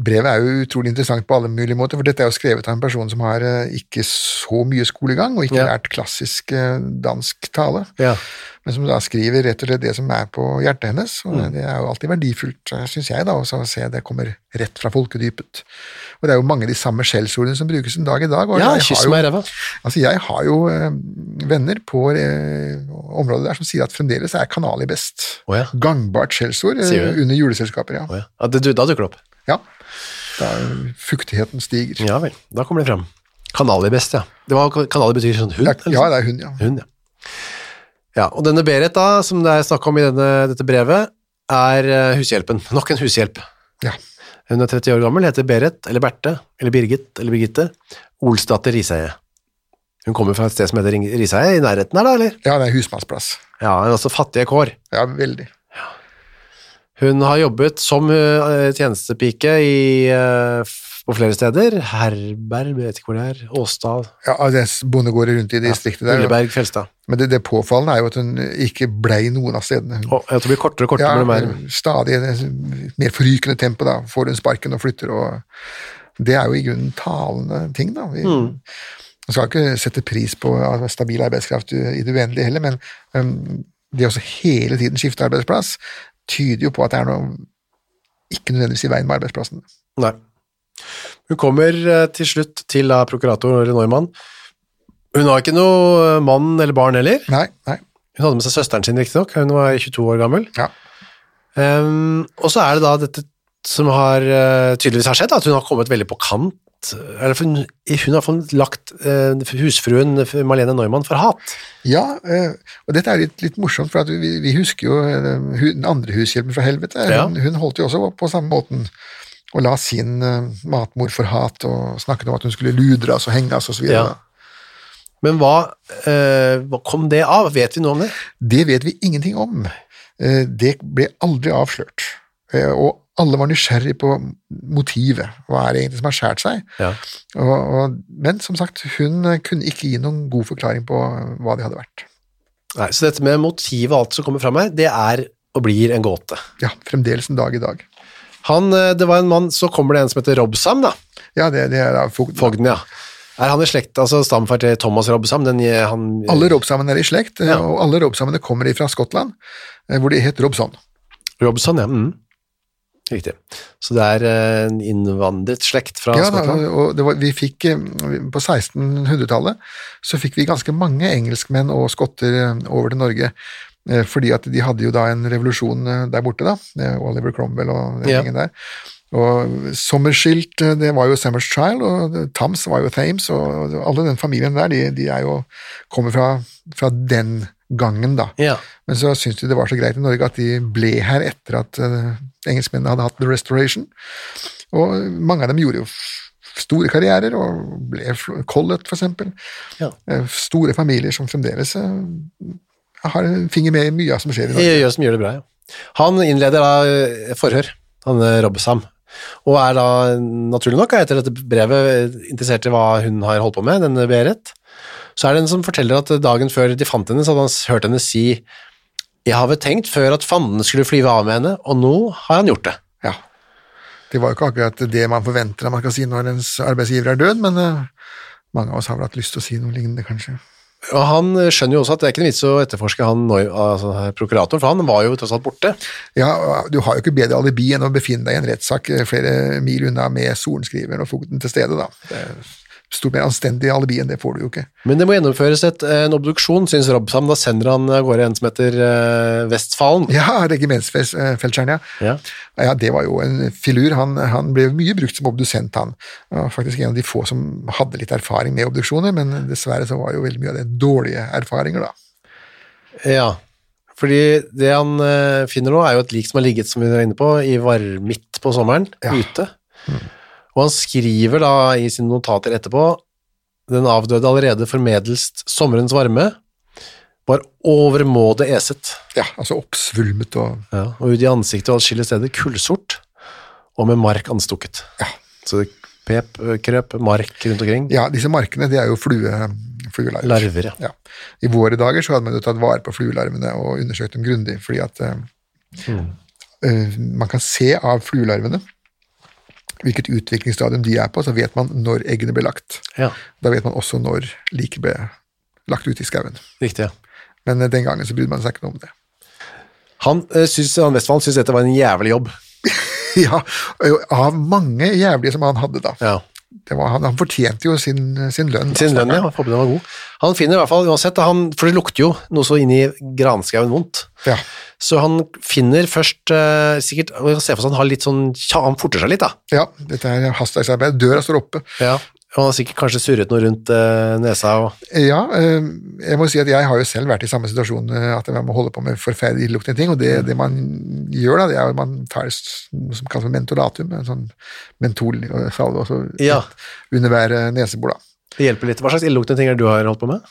[SPEAKER 7] brevet er jo utrolig interessant på alle mulige måter, for dette er jo skrevet av en person som har eh, ikke så mye skolegang, og ikke
[SPEAKER 6] Ja.
[SPEAKER 7] lært klassisk eh, dansk tale,
[SPEAKER 6] Ja.
[SPEAKER 7] men som da skriver rett og slett det som er på hjertet hennes, og
[SPEAKER 6] Mm.
[SPEAKER 7] det er jo alltid verdifullt, syns jeg, da, også å se det kommer rett fra folkedypet. Og det er jo mange av de samme skjellsordene som brukes en dag i dag. Og
[SPEAKER 6] Ja,
[SPEAKER 7] jeg har
[SPEAKER 6] kyss
[SPEAKER 7] jo-
[SPEAKER 6] meg i ræva.
[SPEAKER 7] Altså, jeg har jo eh, venner på eh, området der som sier at fremdeles er Kanali best.
[SPEAKER 6] Å ja.
[SPEAKER 7] Gangbart skjellsord eh,
[SPEAKER 6] Sier du det?
[SPEAKER 7] under juleselskaper, ja.
[SPEAKER 6] Å ja. Ja, det, du- da dukker det opp.
[SPEAKER 7] ja. Da eh, fuktigheten stiger.
[SPEAKER 6] Ja vel, da kommer det fram. Kanali best, ja. Det var, kanali betyr sånn hund?
[SPEAKER 7] Ja,
[SPEAKER 6] eller
[SPEAKER 7] ja,
[SPEAKER 6] sånn?
[SPEAKER 7] det er hun, ja.
[SPEAKER 6] Hund, ja. Ja, og denne Berit da, som det er snakk om i denne, dette brevet, er eh, hushjelpen. Nok en hushjelp.
[SPEAKER 7] Ja.
[SPEAKER 6] Hun er 30 år gammel, heter Berit, eller Berthe, eller Birgit, eller Birgitte. Olsdatter Riseie. Hun kommer fra et sted som heter Ring- Riseie, i nærheten her da, eller?
[SPEAKER 7] Ja, det er husmannsplass.
[SPEAKER 6] Ja, hun er også fattige kår.
[SPEAKER 7] Ja, veldig.
[SPEAKER 6] Hun har jobbet som eh, tjenestepike i, eh, f- på flere steder. Herberg, jeg vet ikke hvor det er. Åsdal,
[SPEAKER 7] Ja, altså, det er bondegårder rundt i distriktet der. og-
[SPEAKER 6] Ulleberg, Fjelstad.
[SPEAKER 7] Men det, det påfallende er jo at hun ikke blei noen av stedene. Hun
[SPEAKER 6] Å, jeg tror det blir kortere og kortere.
[SPEAKER 7] ja, eh,
[SPEAKER 6] med det mer.
[SPEAKER 7] stadig i mer forrykende tempo, da. Får hun sparken og flytter og Det er jo i grunnen talende ting, da. Vi man skal ikke sette pris på stabil arbeidskraft i det uendelige heller, men øhm, det å så hele tiden skifte arbeidsplass tyder jo på at det er noe ikke nødvendigvis i veien med arbeidsplassen.
[SPEAKER 6] Nei. Hun kommer eh, til slutt til da, prokurator Neumann. Hun har ikke noe eh, mann eller barn heller.
[SPEAKER 7] Nei, nei.
[SPEAKER 6] Hun hadde med seg søsteren sin, riktignok. Hun var 22 år gammel.
[SPEAKER 7] Ja.
[SPEAKER 6] Ehm, og så er det da dette som har, eh, tydeligvis har skjedd, at hun har kommet veldig på kant. Eller for hun, hun har fått lagt eh, husfruen Malene Neumann for hat.
[SPEAKER 7] Ja, øh, og dette er litt, litt morsomt, for at vi, vi husker jo øh, hun- den andre hushjelpen fra helvete.
[SPEAKER 6] Ja.
[SPEAKER 7] Hun, hun holdt jo også på samme måten og la sin øh, matmor for hat og snakket om at hun skulle ludres og henges osv.
[SPEAKER 6] Ja.
[SPEAKER 7] videre.
[SPEAKER 6] Men hva, eh, hva kom det av? Vet vi noe om det?
[SPEAKER 7] Det vet vi ingenting om. Eh, Det ble aldri avslørt. Eh, Og alle var nysgjerrig på motivet. Hva er det egentlig som har skåret seg?
[SPEAKER 6] Ja.
[SPEAKER 7] Og, og, men som sagt, hun eh, kunne ikke gi noen god forklaring på eh, hva de hadde vært.
[SPEAKER 6] Nei, så dette med motivet og alt som kommer fram her, det er og blir en gåte.
[SPEAKER 7] Ja, fremdeles en dag i dag.
[SPEAKER 6] Han, eh, det var en mann, så kommer det en som heter Robsam, da.
[SPEAKER 7] Ja, det, det er da fogden.
[SPEAKER 6] Fogden, ja. Er han i slekt, altså stamfar til Thomas Robsam? Den, eh, han,
[SPEAKER 7] Alle robsamene er i slekt, eh,
[SPEAKER 6] Ja.
[SPEAKER 7] og alle robsamene kommer fra Skottland, eh, hvor de het Robson.
[SPEAKER 6] Robson, ja. Mm. Riktig. Så det er eh, en innvandret slekt fra
[SPEAKER 7] Ja, da,
[SPEAKER 6] Skottland?
[SPEAKER 7] og det var, vi fikk, eh, på 1600-tallet så fikk vi ganske mange engelskmenn og skotter eh, over til Norge, eh, fordi at de hadde jo da en revolusjon eh, der borte, da. eh, Oliver Cromwell og den
[SPEAKER 6] Ja.
[SPEAKER 7] gjengen der. Og Sommerskilt, eh, det var jo Summerschild, og Tams var jo Thames, og alle den familien der, de, de er jo, kommer fra, fra den gangen, da.
[SPEAKER 6] Ja.
[SPEAKER 7] Men så syntes de det var så greit i Norge at de ble her etter at eh, engelskmennene hadde hatt The Restoration. Og mange av dem gjorde jo f- store karrierer, og ble fl- Collett, for eksempel.
[SPEAKER 6] Ja.
[SPEAKER 7] Eh, Store familier som fremdeles eh, har en finger med i mye av som skjer i Norge.
[SPEAKER 6] Gjør gjør som gjør det bra, ja. Han innleder da eh, forhør, han eh, Robsam. Og er da, naturlig nok, etter dette brevet eh, interessert i hva hun har holdt på med, denne Berit. Så er det en som forteller at dagen før de fant henne, så hadde han s- hørt henne si «Jeg har vel tenkt før at fanden skulle flyve av med henne, og nå har han gjort det».
[SPEAKER 7] Ja. Det var jo ikke akkurat det man forventer at man skal si når ens arbeidsgiver er død, men eh, mange av oss har vel hatt lyst til å si noe lignende, kanskje.
[SPEAKER 6] Og han eh, skjønner jo også at det er ikke noe vits å etterforske han, Neu- altså, prokuratoren, for han var jo tross alt borte.
[SPEAKER 7] Ja, Du har jo ikke bedre alibi enn å befinne deg i en rettssak eh, flere mil unna med sorenskriveren og fogden til stede, da. Det er Stort mer anstendig alibi enn det får du jo ikke.
[SPEAKER 6] Men det må gjennomføres et, eh, en obduksjon, syns Robsam. Da sender han av gårde en som heter eh, Vestfalen.
[SPEAKER 7] Ja, regimentsfeltskjæren, ja.
[SPEAKER 6] Ja.
[SPEAKER 7] Ja, Det var jo en filur. Han, han ble mye brukt som obdusent, han. Han var Faktisk en av de få som hadde litt erfaring med obduksjoner, men dessverre så var jo veldig mye av det dårlige erfaringer, da.
[SPEAKER 6] Ja, fordi det han eh, finner nå er jo et lik som har ligget, som vi var inne på, i varm midt på sommeren, ute. Mm. Og han skriver da i sine notater etterpå, den avdøde allerede formedelst sommerens varme, var overmåde eset,
[SPEAKER 7] Ja, Altså oppsvulmet og
[SPEAKER 6] ja. og ut i ansiktet og allskillige steder kullsort, og med mark anstukket. Så det pep, krøp, mark rundt omkring.
[SPEAKER 7] Ja, disse markene, det er jo flue, fluelarver.
[SPEAKER 6] Larver, ja.
[SPEAKER 7] I våre dager så hadde man jo tatt vare på fluelarvene og undersøkt dem grundig, fordi at eh,
[SPEAKER 6] Mm.
[SPEAKER 7] eh, man kan se av fluelarvene hvilket utviklingsstadium de er på, så vet man når eggene ble lagt.
[SPEAKER 6] Ja,
[SPEAKER 7] Da vet man også når liket ble lagt ut i skauen.
[SPEAKER 6] riktig, ja.
[SPEAKER 7] Men eh, den gangen så brydde man seg ikke noe om det.
[SPEAKER 6] Han, eh, synes, han Vestfalen synes dette var en jævlig jobb.
[SPEAKER 7] ja, og Av mange jævlige som han hadde, da.
[SPEAKER 6] Ja.
[SPEAKER 7] Det var, han, han fortjente jo sin, eh, sin lønn.
[SPEAKER 6] Sin lønn, ja. Håper den var god. Han finner i hvert fall, uansett, da, han, for det lukter jo noe så inni granskauen vondt.
[SPEAKER 7] Ja.
[SPEAKER 6] Så han finner først eh, sikkert og jeg ser for seg at Han har litt sånn, tja, han forter seg litt, da.
[SPEAKER 7] ja, dette er hastverksarbeid. Døra står oppe.
[SPEAKER 6] Og han har sikkert kanskje surret noe rundt eh, nesa. Og,
[SPEAKER 7] Ja, eh, jeg må si at jeg har jo selv vært i samme situasjon, eh, at man må holde på med forferdelig illeluktende ting, og det, det man gjør da, det er jo at man tar s- noe som kalles for mentolatum, en sånn eh, mentolsalve, og så
[SPEAKER 6] ja,
[SPEAKER 7] altså under hver eh, nesebor da.
[SPEAKER 6] det hjelper litt. Hva slags illeluktende ting er det du har holdt på med?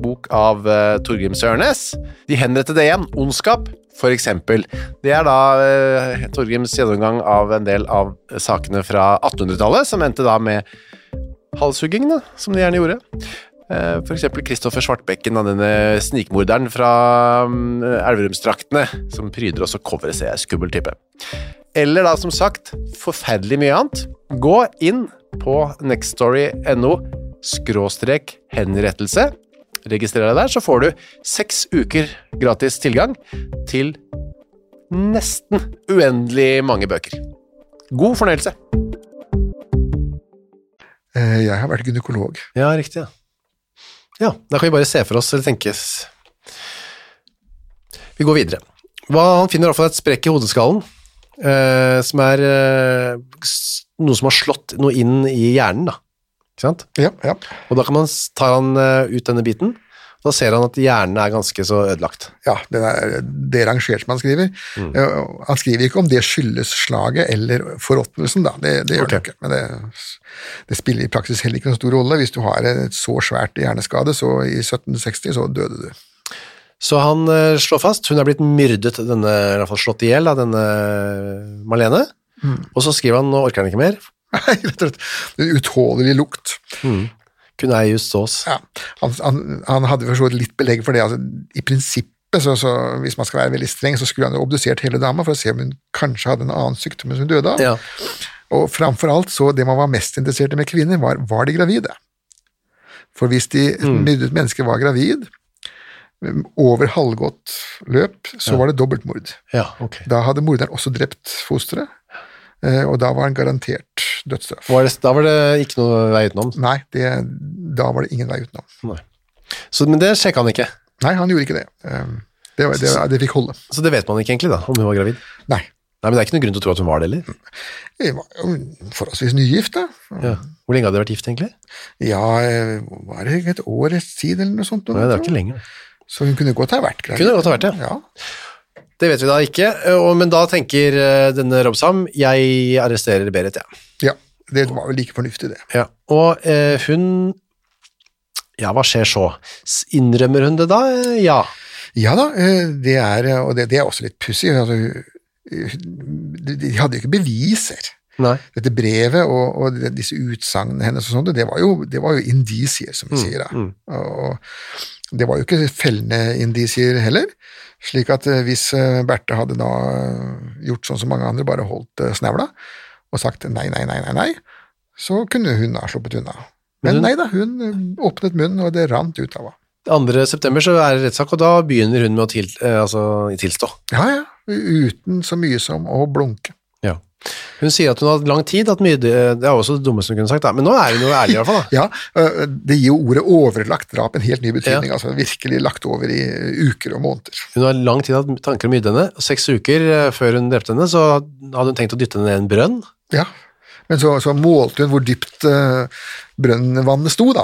[SPEAKER 6] bok av eh, Torgrim Sørnes. De henrettede igjen, ondskap, for eksempel. Det er da eh, Torgrims gjennomgang av en del av sakene fra 1800-tallet, som endte da med halshugging, da, som de gjerne gjorde. Eh, For eksempel Kristoffer Svartbekken, da, denne snikmorderen fra mm, Elverumsdraktene, som pryder også coveret, ser jeg. Skummel type. Eller da, som sagt, forferdelig mye annet. Gå inn på nextstory.no skråstrek henrettelse. Registrer deg der, så får du seks uker gratis tilgang til nesten uendelig mange bøker. God fornøyelse.
[SPEAKER 7] Eh, Jeg har vært gynekolog.
[SPEAKER 6] Ja, riktig. Ja. ja, da kan vi bare se for oss eller tenkes. Vi går videre. Hva, han finner i hvert fall et sprekk i hodeskallen, eh, som er eh, s- noe som har slått noe inn i hjernen, da. Ikke sant?
[SPEAKER 7] Ja, ja.
[SPEAKER 6] Og da kan man, s- tar han eh, ut denne biten, da ser han at hjernen er ganske så ødelagt.
[SPEAKER 7] ja det er derangert som han skriver. Eh, Han skriver ikke om det skyldes slaget eller forråtnelsen, da. Det, det gjør
[SPEAKER 6] Ok.
[SPEAKER 7] han ikke. Men det, det spiller i praksis heller ikke noen stor rolle. Hvis du har et så svært hjerneskade, så i 1760 så døde du.
[SPEAKER 6] Så han eh, slår fast, hun er blitt myrdet, denne, i hvert fall slått ihjel av denne Marlene, og så skriver han, nå orker han ikke mer,
[SPEAKER 7] Nei, rett og slett. En utålelig lukt.
[SPEAKER 6] kun ei just sås.
[SPEAKER 7] Ja. Han, han, han hadde for så vidt litt belegg for det. Altså, I prinsippet, så, så, hvis man skal være veldig streng, så skulle han jo obdusert hele dama for å se om hun kanskje hadde en annen sykdom enn hun døde av.
[SPEAKER 6] Ja.
[SPEAKER 7] Og framfor alt, så det man var mest interessert i med kvinner, var var de gravide. For hvis de myrdet mennesker var gravid, um, over halvgått løp, så var det dobbeltmord.
[SPEAKER 6] ja, ok.
[SPEAKER 7] Da hadde morderen også drept fosteret, eh, og da var han garantert dødsstraff.
[SPEAKER 6] Var det, da var det ikke noe vei utenom.
[SPEAKER 7] Nei, det, da var det ingen vei utenom.
[SPEAKER 6] Så, men det sjekka han ikke.
[SPEAKER 7] Nei, han gjorde ikke det. Um, Det, var, det, var- det fikk holde.
[SPEAKER 6] Så det vet man ikke egentlig, da, om hun var gravid.
[SPEAKER 7] Nei.
[SPEAKER 6] Nei, Men det er ikke noen grunn til å tro at hun var det heller.
[SPEAKER 7] Jeg var jo forholdsvis nygift, da.
[SPEAKER 6] Ja. Hvor lenge hadde de vært gift, egentlig?
[SPEAKER 7] Ja, eh, var det et årets tid eller noe sånt?
[SPEAKER 6] Nei, det var ikke lenger.
[SPEAKER 7] Så hun kunne godt ha vært gravid.
[SPEAKER 6] Kunne godt ha vært det.
[SPEAKER 7] Ja.
[SPEAKER 6] Det vet vi da ikke, og, men da tenker eh, denne Robsam jeg arresterer Berit, jeg.
[SPEAKER 7] Ja, det var jo like fornuftig, det.
[SPEAKER 6] Ja. Og eh, hun Ja, hva skjer så? S- Innrømmer hun det da? Eh, Ja.
[SPEAKER 7] Ja da, eh, det er, og det, det er også litt pussig. Altså, hun- de de hadde jo ikke beviser.
[SPEAKER 6] Nei.
[SPEAKER 7] Dette brevet og, og de- disse utsagnene hennes og sånt, det var jo, det var jo indisier, som vi sier da. Og det var jo ikke fellende indisier heller. Slik at eh, hvis eh, Berthe hadde da eh, gjort sånn som mange andre, bare holdt eh, snevla og sagt nei, nei, nei, nei, nei, så kunne hun ha sluppet unna. Men nei da, hun eh, åpnet munnen, og det rant ut av henne.
[SPEAKER 6] 2. september så er det rettssak, og da begynner hun med å til, eh, altså, tilstå.
[SPEAKER 7] Ja, ja. Uten så mye som å blunke.
[SPEAKER 6] Ja. Hun sier at hun har hatt lang tid, at mye, eh, det er også det dummeste hun kunne sagt, da. men nå er hun jo ærlig i hvert fall. da.
[SPEAKER 7] Ja, øh, Det gir jo ordet overlagt drap en helt ny betydning.
[SPEAKER 6] Ja.
[SPEAKER 7] altså Virkelig lagt over i eh, uker og måneder.
[SPEAKER 6] Hun har lang tid hatt tanker om å myrde henne. og Seks uker eh, før hun drepte henne, så hadde hun tenkt å dytte henne ned i en brønn.
[SPEAKER 7] Ja, Men så, så målte hun hvor dypt øh, brønnvannet sto, da,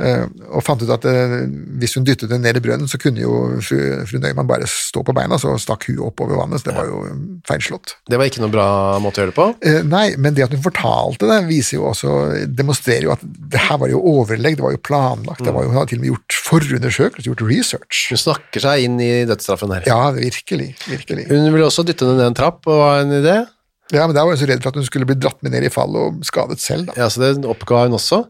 [SPEAKER 7] eh, og fant ut at eh, hvis hun dyttet den ned i brønnen, så kunne jo fru, fru Nøyman bare stå på beina, så stakk huet opp over vannet, så det var jo mm, feilslått.
[SPEAKER 6] Det var ikke noen bra måte å gjøre det på.
[SPEAKER 7] Eh, Nei, men det at hun fortalte det, viser jo også, demonstrerer jo at det her var jo overlegg, det var jo planlagt, det var jo, hun hadde til og med gjort forundersøkelse, gjort research.
[SPEAKER 6] Hun snakker seg inn i dødsstraffen her.
[SPEAKER 7] Ja, virkelig. virkelig.
[SPEAKER 6] Hun ville også dytte henne ned en trapp, og var en idé.
[SPEAKER 7] Ja, men Der var hun så redd for at hun skulle bli dratt med ned i fallet og skadet selv. da.
[SPEAKER 6] Ja, så det oppga hun også.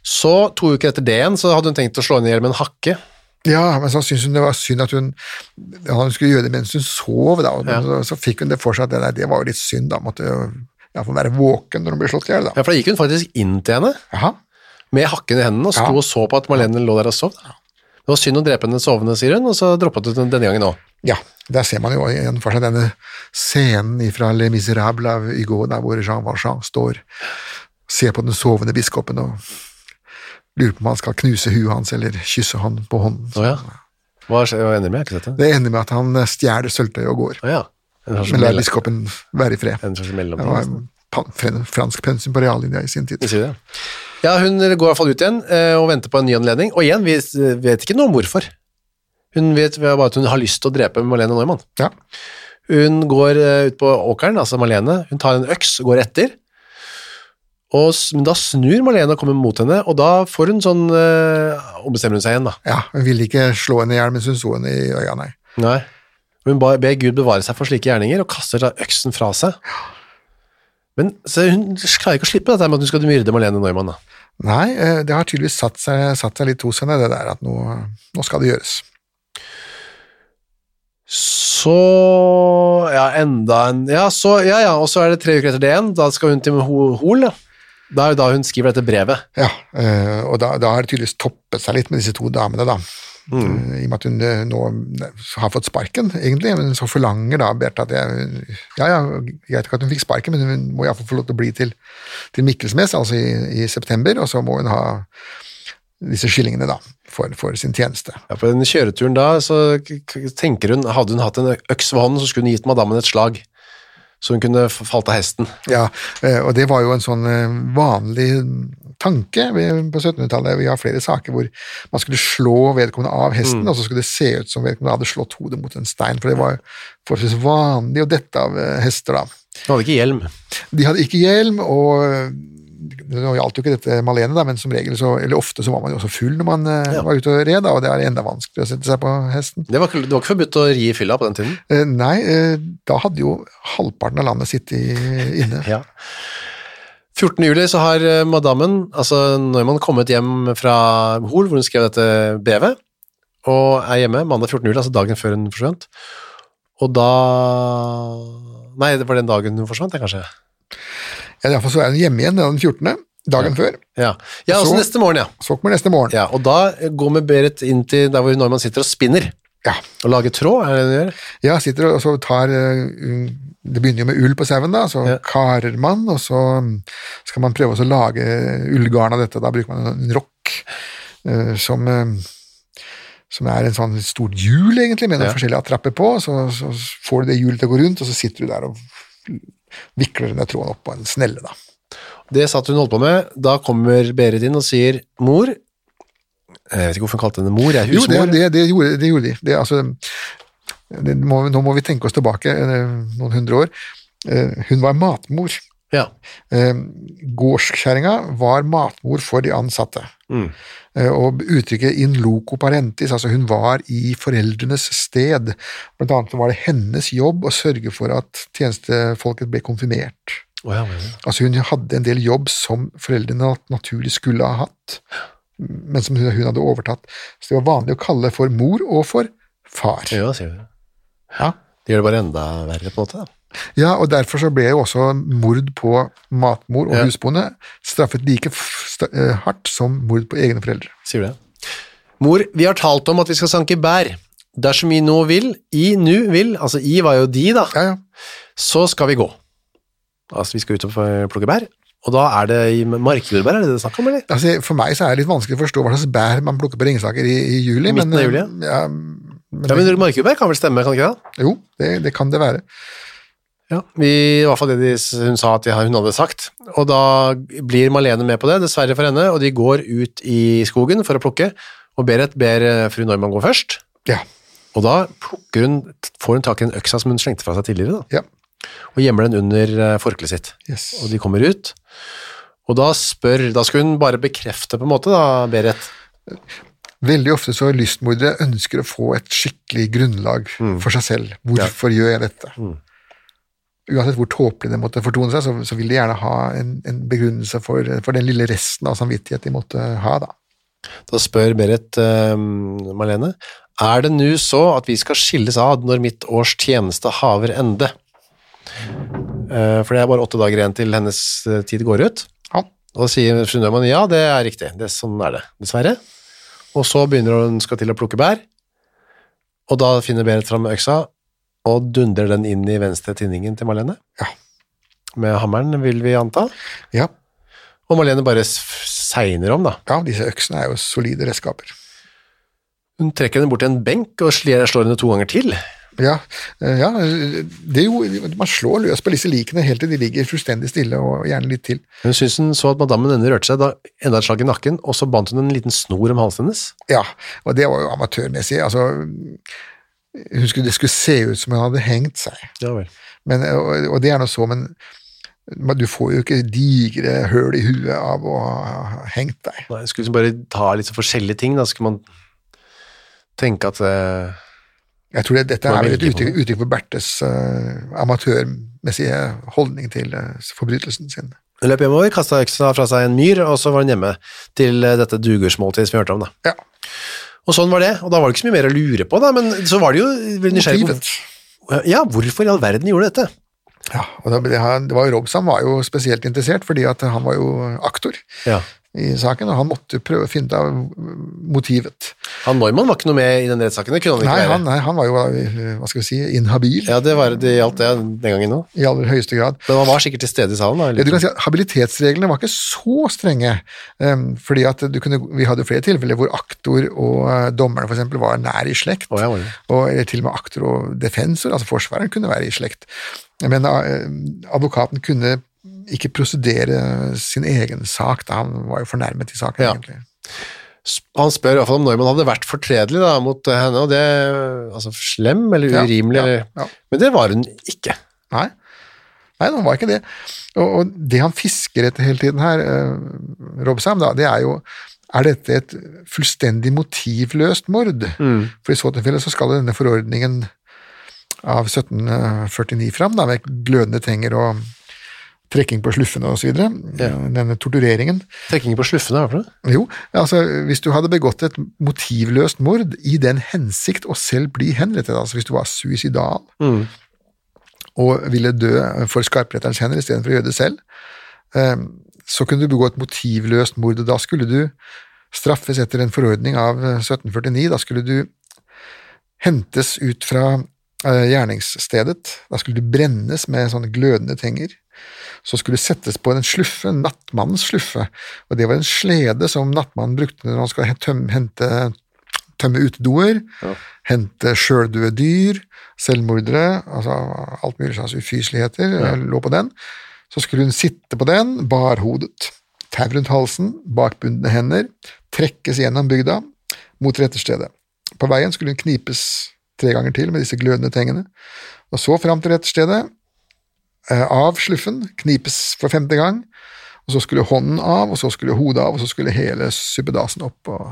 [SPEAKER 6] Så, to uker etter det igjen, så hadde hun tenkt å slå henne i hjel med en hakke.
[SPEAKER 7] Ja, Men så syntes hun det var synd at hun, ja, hun skulle gjøre det mens hun sov, da. og så, så fikk hun det for seg at det, nei, det var jo litt synd, da. Måtte jo ja, få være våken når hun ble slått i hjel, da.
[SPEAKER 6] Ja, for da gikk hun faktisk inn til henne
[SPEAKER 7] Jaha.
[SPEAKER 6] med hakken i hendene og sto
[SPEAKER 7] Ja.
[SPEAKER 6] og så på at Marlene lå der og sov. Det var synd å drepe henne sovende, sier hun, og så droppet hun denne gangen òg.
[SPEAKER 7] Ja, der ser man jo igjen for seg denne scenen fra Le Miserable av Hugo, der hvor Jean Valjean står, ser på den sovende biskopen og lurer på om han skal knuse huet hans eller kysse han på hånden.
[SPEAKER 6] Å ja. Hva skjer- hva ender det med? Jeg har ikke sett det.
[SPEAKER 7] Det ender med at han stjeler sølvtøyet og går.
[SPEAKER 6] Å ja. En slags,
[SPEAKER 7] Men la
[SPEAKER 6] mell-
[SPEAKER 7] biskopen være i fred.
[SPEAKER 6] en slags
[SPEAKER 7] Det var
[SPEAKER 6] mellomplass.
[SPEAKER 7] pan- fre- fransk pensum på reallinja i sin tid.
[SPEAKER 6] Skal vi si det? Ja, hun går i hvert fall ut igjen eh, og venter på en ny anledning. Og igjen, vi s- vet ikke noe om hvorfor. Hun vet bare at hun har lyst til å drepe Malene Neumann.
[SPEAKER 7] Ja.
[SPEAKER 6] Hun går eh, ut på åkeren, altså Malene. Hun tar en øks og går etter. Og s- men da snur Malene og kommer mot henne, og da får hun sånn eh, Ombestemmer hun seg igjen, da.
[SPEAKER 7] ja, hun ville ikke slå henne i hjel mens hun så henne i øya, nei.
[SPEAKER 6] Nei. Og Hun ba- ber Gud bevare seg for slike gjerninger, og kaster da øksen fra seg. Men så hun klarer ikke å slippe dette med at hun skal myrde Malene Neumann. Da.
[SPEAKER 7] Nei, eh, det har tydeligvis satt seg, satt seg litt hos henne, det der at nå, nå skal det gjøres.
[SPEAKER 6] Så Ja, enda en Ja, så, ja, ja, og så er det tre uker etter det igjen. Da skal hun til Ho- Hol. Da. Det er jo da hun skriver dette brevet.
[SPEAKER 7] Ja, eh, og da, da har det tydeligvis toppet seg litt med disse to damene, da. Eh, I og med at hun eh, nå har fått sparken, egentlig, men så forlanger da Bertha at jeg Ja, ja, greit ikke at hun fikk sparken, men hun må iallfall få lov til å bli til, til Mikkelsmes, altså i, i september, og så må hun ha disse skillingene, da, for, for sin tjeneste.
[SPEAKER 6] Ja, på den kjøreturen da så k- k- tenker hun Hadde hun hatt en øks ved hånden, så skulle hun gitt madammen et slag. Så hun kunne f- falt av hesten.
[SPEAKER 7] Ja, eh, og det var jo en sånn eh, vanlig tanke ved- på 1700-tallet. Vi har flere saker hvor man skulle slå vedkommende av hesten,
[SPEAKER 6] Mm.
[SPEAKER 7] og så skulle det se ut som vedkommende hadde slått hodet mot en stein, for det var forholdsvis vanlig å dette av eh, hester da.
[SPEAKER 6] Hun hadde ikke hjelm.
[SPEAKER 7] De hadde ikke hjelm, og eh, nå gjaldt jo ikke dette Malene, da, men som regel så, eller ofte så var man jo også full når man eh, var ute og red, da, og det er enda vanskeligere å sette seg på hesten.
[SPEAKER 6] Det var, ikke- det var ikke forbudt å ri i fylla på den tiden.
[SPEAKER 7] Eh, Nei, eh, da hadde jo halvparten av landet sittet inne.
[SPEAKER 6] Ja. 14. juli så har eh, madammen, altså Neumann, kommet hjem fra Hol, hvor hun skrev dette brevet, og er hjemme mandag 14. juli, altså dagen før hun forsvant. Og da Nei, det var den dagen hun forsvant, det, kanskje?
[SPEAKER 7] Ja, Iallfall så er hun hjemme igjen den 14., dagen før.
[SPEAKER 6] Ja, ja
[SPEAKER 7] Og
[SPEAKER 6] også
[SPEAKER 7] så-
[SPEAKER 6] neste morgen, ja.
[SPEAKER 7] Så kommer neste morgen.
[SPEAKER 6] ja. Og da går med Berit inn til der hvor Neumann sitter og spinner.
[SPEAKER 7] Ja.
[SPEAKER 6] Og lager tråd, er det det hun gjør?
[SPEAKER 7] Ja, sitter og og så tar eh, u- Det begynner jo med ull på sauen, da, så
[SPEAKER 6] Ja.
[SPEAKER 7] karer man, og så mm, skal man prøve også å lage ullgarn av dette. Da bruker man en rokk eh, som eh, som er en sånn stort hjul, egentlig, med noen
[SPEAKER 6] Ja.
[SPEAKER 7] forskjellige attrapper på. Så, så får du det hjulet til å gå rundt, og så sitter du der og vikler den der tråden opp på en snelle, da.
[SPEAKER 6] Det satt hun holdt på med. Da kommer Berit inn og sier 'mor'. Eh, Jeg vet ikke hvorfor hun kalte henne mor, jeg er
[SPEAKER 7] Jo,
[SPEAKER 6] husmor.
[SPEAKER 7] det, det, det, gjorde, det gjorde de. Det, altså, det må, nå må vi tenke oss tilbake eh, noen hundre år. Eh, Hun var matmor.
[SPEAKER 6] Ja.
[SPEAKER 7] Eh, Gårdskjerringa var matmor for de ansatte. Eh, Og uttrykket in loco parentis, altså hun var i foreldrenes sted. Blant annet så var det hennes jobb å sørge for at tjenestefolket ble konfirmert.
[SPEAKER 6] Å, ja, men-
[SPEAKER 7] Altså hun hadde en del jobb som foreldrene nat- naturlig skulle ha hatt, men som hun hun hadde overtatt. Så det var vanlig å kalle for mor og for far.
[SPEAKER 6] Ja, sier du det.
[SPEAKER 7] Ja.
[SPEAKER 6] Det gjør det bare enda verre, på en måte. da.
[SPEAKER 7] Ja, og derfor så ble jo også mord på matmor og
[SPEAKER 6] Ja.
[SPEAKER 7] husbonde straffet like f- sta- eh, hardt som mord på egne foreldre.
[SPEAKER 6] Sier du det? Mor, vi har talt om at vi skal sanke bær. Dersom vi nå vil, i nu vil, altså i var jo de, da,
[SPEAKER 7] Ja, ja.
[SPEAKER 6] så skal vi gå. Altså, vi skal ut og eh, plukke bær, og da er det i markjordbær, er det det er snakk om, eller?
[SPEAKER 7] Altså, for meg så er det litt vanskelig å forstå hva slags bær man plukker på Ringsaker i, i juli.
[SPEAKER 6] Midten
[SPEAKER 7] men,
[SPEAKER 6] av juli,
[SPEAKER 7] eh, ja, men,
[SPEAKER 6] Ja, men markjordbær kan vel stemme, kan det ikke det?
[SPEAKER 7] Jo, det, det kan det være.
[SPEAKER 6] Ja. Vi, I hvert fall det de, s- hun sa at de, hun hadde sagt. Og da blir Malene med på det, dessverre for henne, og de går ut i skogen for å plukke, og Berit ber eh, fru Neumann gå først.
[SPEAKER 7] Ja,
[SPEAKER 6] Og da plukker hun, får hun tak i den øksa som hun slengte fra seg tidligere, da,
[SPEAKER 7] ja.
[SPEAKER 6] og gjemmer den under eh, forkleet sitt.
[SPEAKER 7] Yes.
[SPEAKER 6] Og de kommer ut, og da spør Da skulle hun bare bekrefte, på en måte, da, Berit.
[SPEAKER 7] Veldig ofte så lystmordere ønsker å få et skikkelig grunnlag
[SPEAKER 6] Mm.
[SPEAKER 7] for seg selv. Hvorfor gjør jeg dette? Uansett hvor tåpelig det måtte fortone seg, så, så vil de gjerne ha en, en begrunnelse for, for den lille resten av samvittighet de måtte ha, da.
[SPEAKER 6] Da spør Berit eh, Marlene Er det nu så at vi skal skilles ad når mitt års tjeneste haver ende? Eh, for det er bare åtte dager igjen til hennes eh, tid går ut.
[SPEAKER 7] Ja.
[SPEAKER 6] Og da sier fru Neumann ja, det er riktig. Det, sånn er det, dessverre. Og så begynner hun skal til å plukke bær, og da finner Berit fram øksa og dundrer den inn i venstre tinningen til Marlene.
[SPEAKER 7] Ja.
[SPEAKER 6] Med hammeren, vil vi anta.
[SPEAKER 7] Ja,
[SPEAKER 6] Og Marlene bare s- segner om, da.
[SPEAKER 7] ja disse øksene er jo solide redskaper.
[SPEAKER 6] Hun trekker henne bort til en benk og slår, slår henne to ganger til.
[SPEAKER 7] Ja, eh, ja det er jo, man slår løs på disse likene helt til de ligger fullstendig stille, og gjerne litt til.
[SPEAKER 6] Hun syntes hun så at madammen henne rørte seg, da enda et slag i nakken, og så bandt hun en liten snor om halsen hennes.
[SPEAKER 7] Ja, og det var jo amatørmessig. altså... Hun skulle, det skulle se ut som hun hadde hengt seg,
[SPEAKER 6] Ja vel.
[SPEAKER 7] men, og, og det er nå så, men men du får jo ikke digre høl i huet av å ha hengt deg.
[SPEAKER 6] Nei, jeg skulle liksom bare ta litt så forskjellige ting, da skulle man tenke at eh,
[SPEAKER 7] Jeg tror det, dette
[SPEAKER 6] Hva
[SPEAKER 7] er vel et
[SPEAKER 6] velger man?
[SPEAKER 7] uttrykk, uttrykk for Bertes eh, amatørmessige holdning til eh, forbrytelsen sin.
[SPEAKER 6] Hun løp hjemover, kasta øksa fra seg en myr, og så var hun hjemme til eh, dette dugursmåltidet som vi hørte om. da.
[SPEAKER 7] Ja,
[SPEAKER 6] Og sånn var det, og da var det ikke så mye mer å lure på, da, men så var det jo veldig nysgjerrig på
[SPEAKER 7] motivet.
[SPEAKER 6] Ja, hvorfor i all verden gjorde du dette?
[SPEAKER 7] Ja, og da, det, han- det var jo Robson var jo spesielt interessert, fordi at han var jo aktor
[SPEAKER 6] Ja.
[SPEAKER 7] i saken, og han måtte prøve å finne ut av motivet.
[SPEAKER 6] Han Neumann var ikke noe med i den rettssaken, det kunne han ikke
[SPEAKER 7] Nei
[SPEAKER 6] være.
[SPEAKER 7] han, nei, han var jo, eh, hva skal vi si, inhabil
[SPEAKER 6] Ja, det, var, det gjaldt det den gangen òg.
[SPEAKER 7] i aller høyeste grad.
[SPEAKER 6] Men han var sikkert til stede i salen, da.
[SPEAKER 7] Ja, du
[SPEAKER 6] Eller? liksom.
[SPEAKER 7] kan si at Habilitetsreglene var ikke så strenge, eh, fordi at du kunne, vi hadde jo flere tilfeller hvor aktor og eh, dommerne for eksempel var nær i slekt,
[SPEAKER 6] Å, ja, var det.
[SPEAKER 7] og eller til og med aktor og defensor, altså forsvareren kunne være i slekt, men eh, advokaten kunne ikke prosedere sin egen sak, da han var jo fornærmet i saken
[SPEAKER 6] Ja.
[SPEAKER 7] egentlig.
[SPEAKER 6] Han spør i hvert fall om Neumann hadde vært fortredelig da, mot eh, henne, og det Altså slem eller
[SPEAKER 7] Ja,
[SPEAKER 6] urimelig,
[SPEAKER 7] ja,
[SPEAKER 6] eller
[SPEAKER 7] ja.
[SPEAKER 6] Men det var hun ikke.
[SPEAKER 7] Nei. Nei, han var ikke det. Og, og det han fisker etter hele tiden her, eh, Robsam, da, det er jo er dette et fullstendig motivløst mord? For i så tilfelle så skal jo denne forordningen av 1749 fram, da, med glødende tenger og trekking på sluffene osv. videre, Denne tortureringen.
[SPEAKER 6] Trekking på sluffene, hva er det for noe?
[SPEAKER 7] Jo, altså hvis du hadde begått et motivløst mord i den hensikt å selv bli henrettet, altså hvis du var suicidal og ville dø for skarpretterens hender istedenfor å gjøre det selv, eh, så kunne du begå et motivløst mord, og da skulle du straffes etter en forordning av eh, 1749, da skulle du hentes ut fra eh, gjerningsstedet, da skulle du brennes med sånne glødende tenger så skulle det settes på en sluffe, en nattmannens sluffe, og det var en slede som nattmannen brukte når han skulle he- tøm, hente, tømme utedoer, hente sjøldøde dyr, selvmordere, altså alt mulig slags ufyseligheter eh, lå på den. Så skulle hun sitte på den, barhodet, tau rundt halsen, bakbundne hender, trekkes gjennom bygda mot retterstedet. På veien skulle hun knipes tre ganger til med disse glødende tengene, og så fram til retterstedet, eh, av sluffen, knipes for femte gang, og så skulle hånden av, og så skulle hodet av, og så skulle hele suppedasen opp og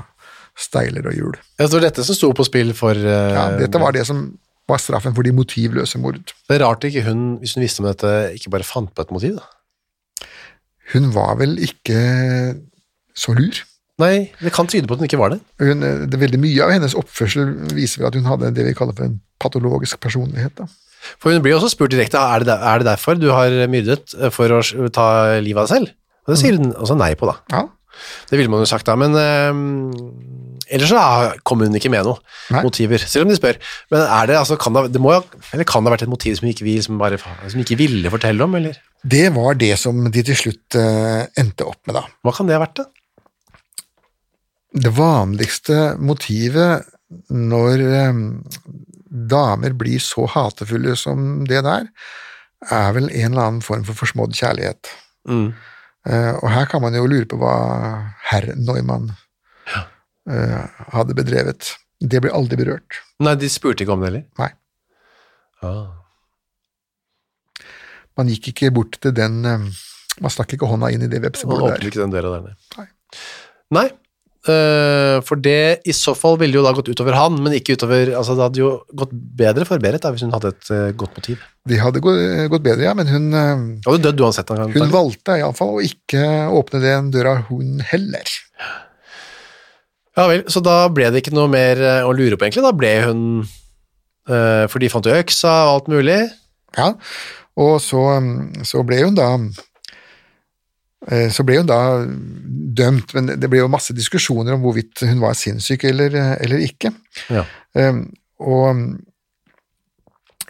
[SPEAKER 7] steiler og hjul.
[SPEAKER 6] Ja, så det var dette som sto på spill for eh,
[SPEAKER 7] Ja, dette var det som var straffen for de motivløse mord.
[SPEAKER 6] Det er rart ikke hun, hvis hun visste om dette, ikke bare fant på et motiv, da.
[SPEAKER 7] Hun var vel ikke så lur.
[SPEAKER 6] Nei, det kan tyde på at hun ikke var det.
[SPEAKER 7] Hun, eh, det, veldig mye av hennes oppførsel viser vel at hun hadde det vi kaller for en patologisk personlighet. Da.
[SPEAKER 6] For hun blir også spurt direkte "Ah, er det, der, er det derfor du har myrdet eh, for å s- ta livet av deg selv. Og det sier
[SPEAKER 7] Mm.
[SPEAKER 6] hun også nei på, da.
[SPEAKER 7] Ja,
[SPEAKER 6] Det ville man jo sagt da, men eh, ellers så er- kommer hun ikke med noe
[SPEAKER 7] Nei.
[SPEAKER 6] motiver, selv om de spør. Men er det, altså, kan det, det må, jo- eller kan det ha vært et motiv som ikke vi som bare, som ikke ville fortelle om, eller?
[SPEAKER 7] det var det som de til slutt eh, endte opp med, da.
[SPEAKER 6] Hva kan det ha vært, da?
[SPEAKER 7] Det vanligste motivet når eh, damer blir så hatefulle som det der, er vel en eller annen form for forsmådd kjærlighet. Eh, og her kan man jo lure på hva herr Neumann eh, hadde bedrevet. Det ble aldri berørt.
[SPEAKER 6] Nei, de spurte ikke om det heller.
[SPEAKER 7] Nei.
[SPEAKER 6] Ah.
[SPEAKER 7] Man gikk ikke bort til den eh, Man stakk ikke hånda inn i det
[SPEAKER 6] Man
[SPEAKER 7] vepsebordet
[SPEAKER 6] åpner
[SPEAKER 7] der.
[SPEAKER 6] ikke den døra der, nei.
[SPEAKER 7] Nei.
[SPEAKER 6] Nei, eh, for det i så fall ville jo da gått utover han, men ikke utover altså Det hadde jo gått bedre for Berit da, hvis hun hadde et eh, godt motiv.
[SPEAKER 7] Det hadde gå- gått bedre, ja, men hun, eh,
[SPEAKER 6] Hun hadde dødd uansett. Han,
[SPEAKER 7] hun valgte iallfall å ikke åpne den døra, hun heller.
[SPEAKER 6] ja vel, så da ble det ikke noe mer eh, å lure på, egentlig. Da ble hun eh, For de fant jo øksa og alt mulig.
[SPEAKER 7] Ja, og så, um, så ble hun da eh, så ble hun da dømt, men det ble jo masse diskusjoner om hvorvidt hun var sinnssyk eller, eller ikke.
[SPEAKER 6] Ja.
[SPEAKER 7] Eh, Og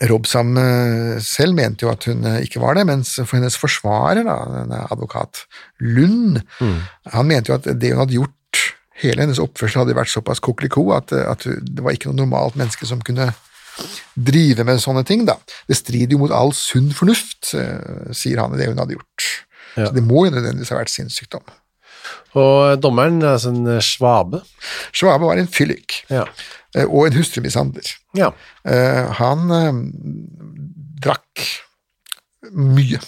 [SPEAKER 7] Robsam eh, selv mente jo at hun eh, ikke var det, mens for hennes forsvarer, da, denne advokat Lund, han mente jo at det hun hadde gjort, hele hennes oppførsel hadde vært såpass kokeliko at, eh, at det var ikke noe normalt menneske som kunne drive med sånne ting, da. Det strider jo mot all sunn fornuft, eh, sier han i det hun hadde gjort.
[SPEAKER 6] Ja.
[SPEAKER 7] Så det må jo nødvendigvis ha vært sinnssykdom.
[SPEAKER 6] Og dommeren er altså en svabe.
[SPEAKER 7] Schwabe var en fyllik
[SPEAKER 6] Ja.
[SPEAKER 7] eh, og en hustrumishandler.
[SPEAKER 6] ja.
[SPEAKER 7] Eh, han eh, drakk mye,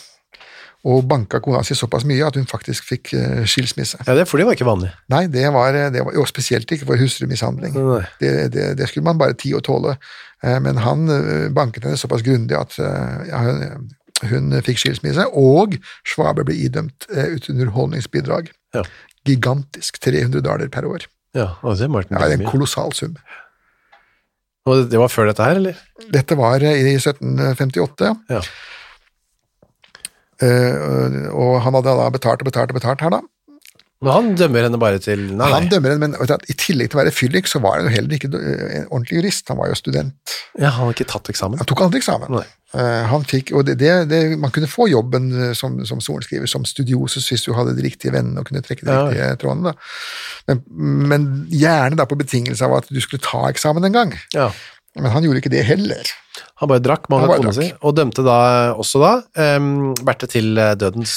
[SPEAKER 7] og banka kona si såpass mye at hun faktisk fikk eh, skilsmisse.
[SPEAKER 6] ja det, for det var ikke vanlig.
[SPEAKER 7] Nei, det var, eh, det var jo spesielt ikke for hustrumishandling.
[SPEAKER 6] Nei.
[SPEAKER 7] Det, det, det skulle man bare tie og tåle. Eh, Men han eh, banket henne såpass grundig at eh, ja, hun, hun fikk skilsmisse, og Schwabe ble idømt eh, et underholdningsbidrag.
[SPEAKER 6] Ja.
[SPEAKER 7] Gigantisk. 300 dollar per år.
[SPEAKER 6] Ja, og det, er Martin
[SPEAKER 7] Ja, det er en
[SPEAKER 6] Bellamy.
[SPEAKER 7] kolossal sum.
[SPEAKER 6] og det var før dette her, eller?
[SPEAKER 7] Dette var eh, i 1758.
[SPEAKER 6] Ja.
[SPEAKER 7] eh, Og han hadde da betalt og betalt og betalt her, da.
[SPEAKER 6] Men han dømmer henne bare til Nei,
[SPEAKER 7] Han
[SPEAKER 6] nei.
[SPEAKER 7] dømmer henne, men vet du, at i tillegg til å være fyllik, så var han jo heller ikke eh, en ordentlig jurist. Han var jo student.
[SPEAKER 6] Ja, han har ikke tatt eksamen.
[SPEAKER 7] Han tok aldri eksamen.
[SPEAKER 6] Nei.
[SPEAKER 7] Eh, han fikk, og det, det, det, man kunne få jobben eh, som, som sorenskriver, som studiosus, hvis du hadde de riktige vennene og kunne trekke de
[SPEAKER 6] Ja.
[SPEAKER 7] riktige trådene. Da. Men, men gjerne da på betingelse av at du skulle ta eksamen en gang.
[SPEAKER 6] Ja.
[SPEAKER 7] Men han gjorde ikke det heller.
[SPEAKER 6] Han bare drakk, man
[SPEAKER 7] Han
[SPEAKER 6] hadde
[SPEAKER 7] bare
[SPEAKER 6] kona si,
[SPEAKER 7] drakk.
[SPEAKER 6] og dømte da også da em, Berthe til eh, dødens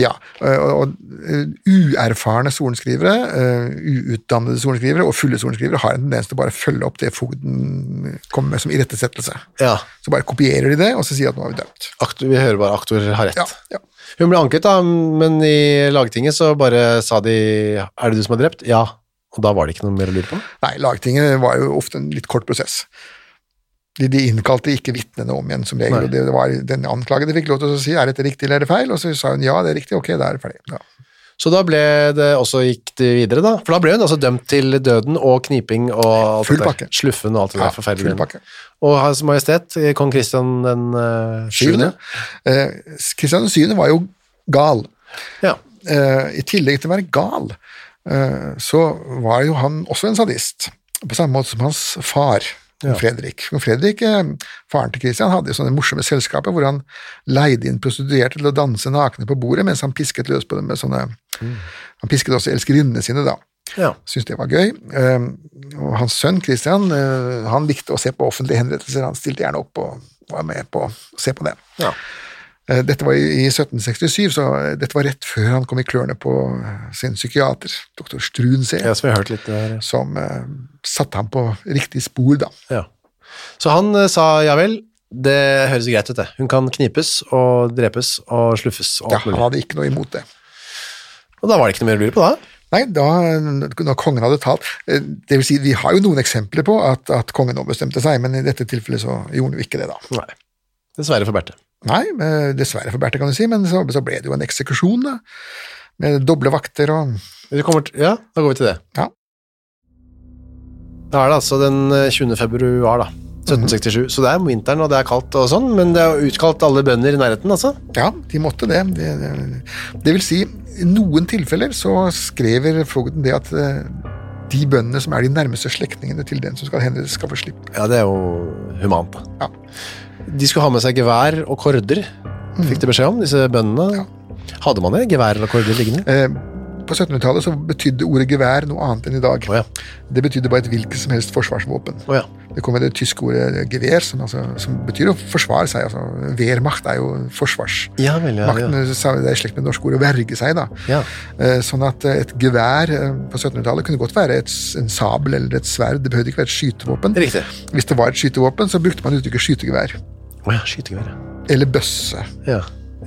[SPEAKER 7] Ja, eh, og, og eh, Uerfarne sorenskrivere, eh, uutdannede sorenskrivere og fulle sorenskrivere har en tendens til å bare følge opp det fogden kommer med som irettesettelse.
[SPEAKER 6] Ja,
[SPEAKER 7] Så bare kopierer de det, og så sier de at nå har vi dømt.
[SPEAKER 6] aktor, vi hører bare aktor har rett.
[SPEAKER 7] Ja, ja.
[SPEAKER 6] Hun ble anket, da, men i lagtinget så bare sa de Er det du som har drept? Ja. Og da var det ikke noe mer å lure på?
[SPEAKER 7] Nei, lagtinget var jo ofte en litt kort prosess. De, de innkalte ikke vitnene om igjen, som regel.
[SPEAKER 6] Nei.
[SPEAKER 7] og Det, det var Den anklagede fikk lov til å si er dette riktig eller er det feil, og så sa hun ja, det er riktig, ok, da er det ferdig. Ja.
[SPEAKER 6] Så da ble det også gikk det videre, da. For da ble hun altså dømt til døden og kniping og alt
[SPEAKER 7] Full
[SPEAKER 6] det der.
[SPEAKER 7] pakke.
[SPEAKER 6] Sluffen og alt det
[SPEAKER 7] Ja,
[SPEAKER 6] der forferdelige.
[SPEAKER 7] full pakke.
[SPEAKER 6] Og Hans Majestet, eh, kong Kristian den eh, sjuende.
[SPEAKER 7] Eh, Kristian 7. var jo gal.
[SPEAKER 6] Ja.
[SPEAKER 7] Eh, I tillegg til å være gal, eh, så var jo han også en sadist. På samme måte som hans far, kong Fredrik. Kong Fredrik, eh, Faren til Kristian hadde jo sånne morsomme selskaper hvor han leide inn prostituerte til å danse nakne på bordet mens han pisket løs på dem med sånne Han pisket også elskerinnene sine, da.
[SPEAKER 6] ja.
[SPEAKER 7] Syntes det var gøy. Eh, Og hans sønn Kristian, han likte å se på offentlige henrettelser. Han stilte gjerne opp og var med på å se på det.
[SPEAKER 6] ja.
[SPEAKER 7] Eh, Dette var i i 1767, så eh, dette var rett før han kom i klørne på eh, sin psykiater, doktor Struensee,
[SPEAKER 6] Ja, som vi har hørt litt der.
[SPEAKER 7] som eh, satte ham på riktig spor, da.
[SPEAKER 6] Ja. Så han eh, sa ja vel, det høres greit ut det. Hun kan knipes og drepes og sluffes og
[SPEAKER 7] Ja,
[SPEAKER 6] alt
[SPEAKER 7] han
[SPEAKER 6] mulig.
[SPEAKER 7] hadde ikke noe imot det.
[SPEAKER 6] Og da var det ikke noe mer å lure på da.
[SPEAKER 7] Nei, da eh, når kongen hadde talt eh, Det vil si, vi har jo noen eksempler på at, at kongen ombestemte seg, men i dette tilfellet så gjorde han jo ikke det, da.
[SPEAKER 6] Nei. Dessverre for Berthe.
[SPEAKER 7] Nei, eh, dessverre for Berthe, kan du si, men så, så ble det jo en eksekusjon, da. Med doble vakter og
[SPEAKER 6] Vi kommer til, ja, da går vi til det.
[SPEAKER 7] Ja.
[SPEAKER 6] Da er det altså den eh, 20. februar da. 1767,
[SPEAKER 7] Mhm.
[SPEAKER 6] så det er vinteren og det er kaldt og sånn, men det er jo utkalt alle bønder i nærheten altså.
[SPEAKER 7] Ja, de måtte det. Det, det, det vil si, i noen tilfeller så skrever fogden det at eh, de bøndene som er de nærmeste slektningene til den som skal henrettes, skal få slippe.
[SPEAKER 6] Ja, det er jo humant da.
[SPEAKER 7] Ja.
[SPEAKER 6] De skulle ha med seg gevær og korder, fikk
[SPEAKER 7] Mhm.
[SPEAKER 6] de beskjed om, disse bøndene. Hadde man det, gevær eller korder liggende?
[SPEAKER 7] Eh, På 1700-tallet så betydde ordet gevær noe annet enn i dag.
[SPEAKER 6] Åja,
[SPEAKER 7] Det betydde bare et hvilket som helst forsvarsvåpen.
[SPEAKER 6] åja.
[SPEAKER 7] Det kom med det tyske ordet gewehr, som, altså, som betyr å forsvare seg. Altså, Wehrmacht er jo forsvars.
[SPEAKER 6] Ja, vel, ja,
[SPEAKER 7] Makten, eh,
[SPEAKER 6] ja.
[SPEAKER 7] sa- Det er i slekt med det norske ordet å verge seg, da.
[SPEAKER 6] Ja.
[SPEAKER 7] Eh, Sånn at eh, et gevær eh, på 1700-tallet kunne godt være et, s- en sabel eller et sverd. Det behøvde ikke være et skytevåpen.
[SPEAKER 6] Riktig.
[SPEAKER 7] Hvis det var et skytevåpen, så brukte man uttrykket skytegevær.
[SPEAKER 6] Åja, skytegevær, ja.
[SPEAKER 7] Eller bøsse.
[SPEAKER 6] Ja,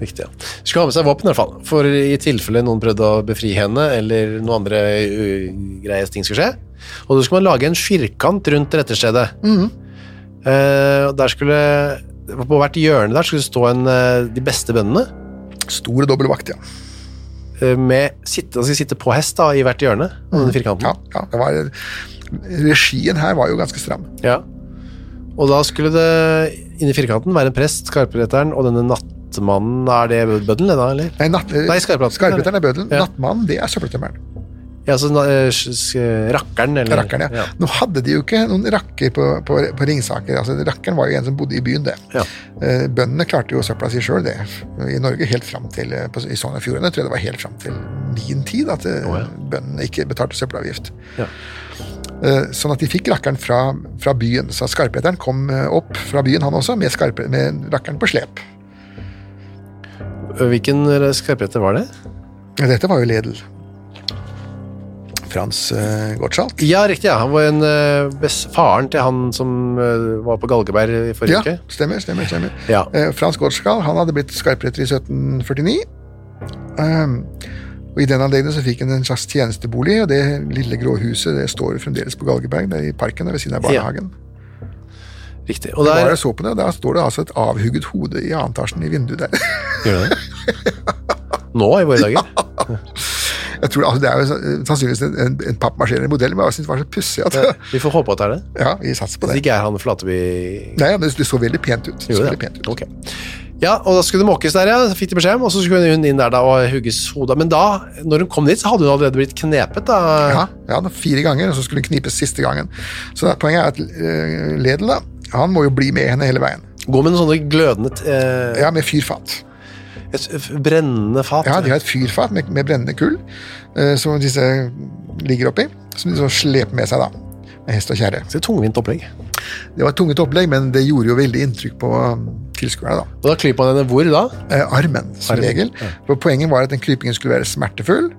[SPEAKER 6] riktig. Ja. Skulle ha med seg våpen i hvert fall, for i tilfelle noen prøvde å befri henne, eller noen andre ø, greie ting skulle skje. Og da skulle man lage en firkant rundt retterstedet. Mhm. Eh, og der skulle, på hvert hjørne der skulle det stå en, eh, de beste bøndene,
[SPEAKER 7] Stor og dobbel vakt, ja.
[SPEAKER 6] eh, med sitte, altså sitte på hest da, i hvert hjørne, av den firkanten.
[SPEAKER 7] ja, ja det var, eh, regien her var jo ganske stram.
[SPEAKER 6] Ja. Og da skulle det, inni firkanten, være en prest, skarpretteren, og denne nattmannen, er det bøddelen da, eller?
[SPEAKER 7] Nei, natt,
[SPEAKER 6] Nei, skarplaten.
[SPEAKER 7] Skarpretteren er bøddelen.
[SPEAKER 6] Ja.
[SPEAKER 7] Nattmannen, det er søppeltømmeren.
[SPEAKER 6] Ja, så eh, s- s- rakkeren, eller?
[SPEAKER 7] Rakkeren, ja. Nå hadde de jo ikke noen rakker på, på, på Ringsaker. Altså, rakkeren var jo en som bodde i byen, det.
[SPEAKER 6] Ja.
[SPEAKER 7] Eh, Bøndene klarte jo søpla si sjøl, det. I Norge helt fram til eh, på- I Sogn og Fjordane tror jeg det var helt fram til min tid at eh,
[SPEAKER 6] Å, ja.
[SPEAKER 7] bøndene ikke betalte søppelavgift.
[SPEAKER 6] Ja.
[SPEAKER 7] Eh, Sånn at de fikk rakkeren fra, fra byen. Så skarpreteren kom eh, opp fra byen, han også, med, skarpe, med rakkeren på slep.
[SPEAKER 6] Hvilken skarpretter var det?
[SPEAKER 7] Dette var jo Ledel. Frans uh, Gottschalk.
[SPEAKER 6] Ja, riktig. ja. Han var en eh, bes- faren til han som eh, var på Galgeberg i forrige
[SPEAKER 7] Ja,
[SPEAKER 6] uke.
[SPEAKER 7] stemmer, stemmer, stemmer.
[SPEAKER 6] Ja.
[SPEAKER 7] Eh, Frans Gottschall, han hadde blitt skarpretter i 1749. Ehm, og I den anledning så fikk han en slags tjenestebolig, og det lille grå huset det står jo fremdeles på Galgeberg, det er i parken der ved siden av
[SPEAKER 6] Ja.
[SPEAKER 7] barnehagen.
[SPEAKER 6] Riktig. Og
[SPEAKER 7] Der,
[SPEAKER 6] der
[SPEAKER 7] jeg så på det, og der står det altså et avhugget hode i annen etasjen i vinduet der.
[SPEAKER 6] Gjør du det? Nå i våre dager?
[SPEAKER 7] Jeg tror, altså, det er jo så- sannsynligvis en, en, en pappmascherende modell, men jeg synes det var så pussig at
[SPEAKER 6] Vi får håpe at det er det.
[SPEAKER 7] Ja, vi satser på
[SPEAKER 6] Hvis
[SPEAKER 7] det.
[SPEAKER 6] det ikke er han Flateby
[SPEAKER 7] Nei, men det så veldig pent ut. Det så
[SPEAKER 6] Gjorde
[SPEAKER 7] veldig
[SPEAKER 6] det?
[SPEAKER 7] pent ut.
[SPEAKER 6] Ok. Ja, og da skulle det måkes der, ja. Så Fikk de beskjed om, og så skulle hun inn der da og hugges hodet. Men da, når hun kom dit, så hadde hun allerede blitt knepet, da.
[SPEAKER 7] Ja, ja da, fire ganger, og så skulle hun knipes siste gangen. Så da, poenget er at eh, Ledel da, han må jo bli med henne hele veien.
[SPEAKER 6] Gå med noen sånne glødende eh,
[SPEAKER 7] Ja, med fyrfat.
[SPEAKER 6] Et f- brennende fat.
[SPEAKER 7] Ja, de har et fyrfat med, med brennende kull eh, som disse ligger oppi, som de så sleper med seg da, med hest og kjerre.
[SPEAKER 6] Så tungvint opplegg.
[SPEAKER 7] Det var et tunget opplegg, men det gjorde jo veldig inntrykk på um, tilskuerne da.
[SPEAKER 6] Og da klyper man henne hvor da?
[SPEAKER 7] Eh, armen, som
[SPEAKER 6] Armen,
[SPEAKER 7] regel. For poenget var at den klypingen skulle være smertefull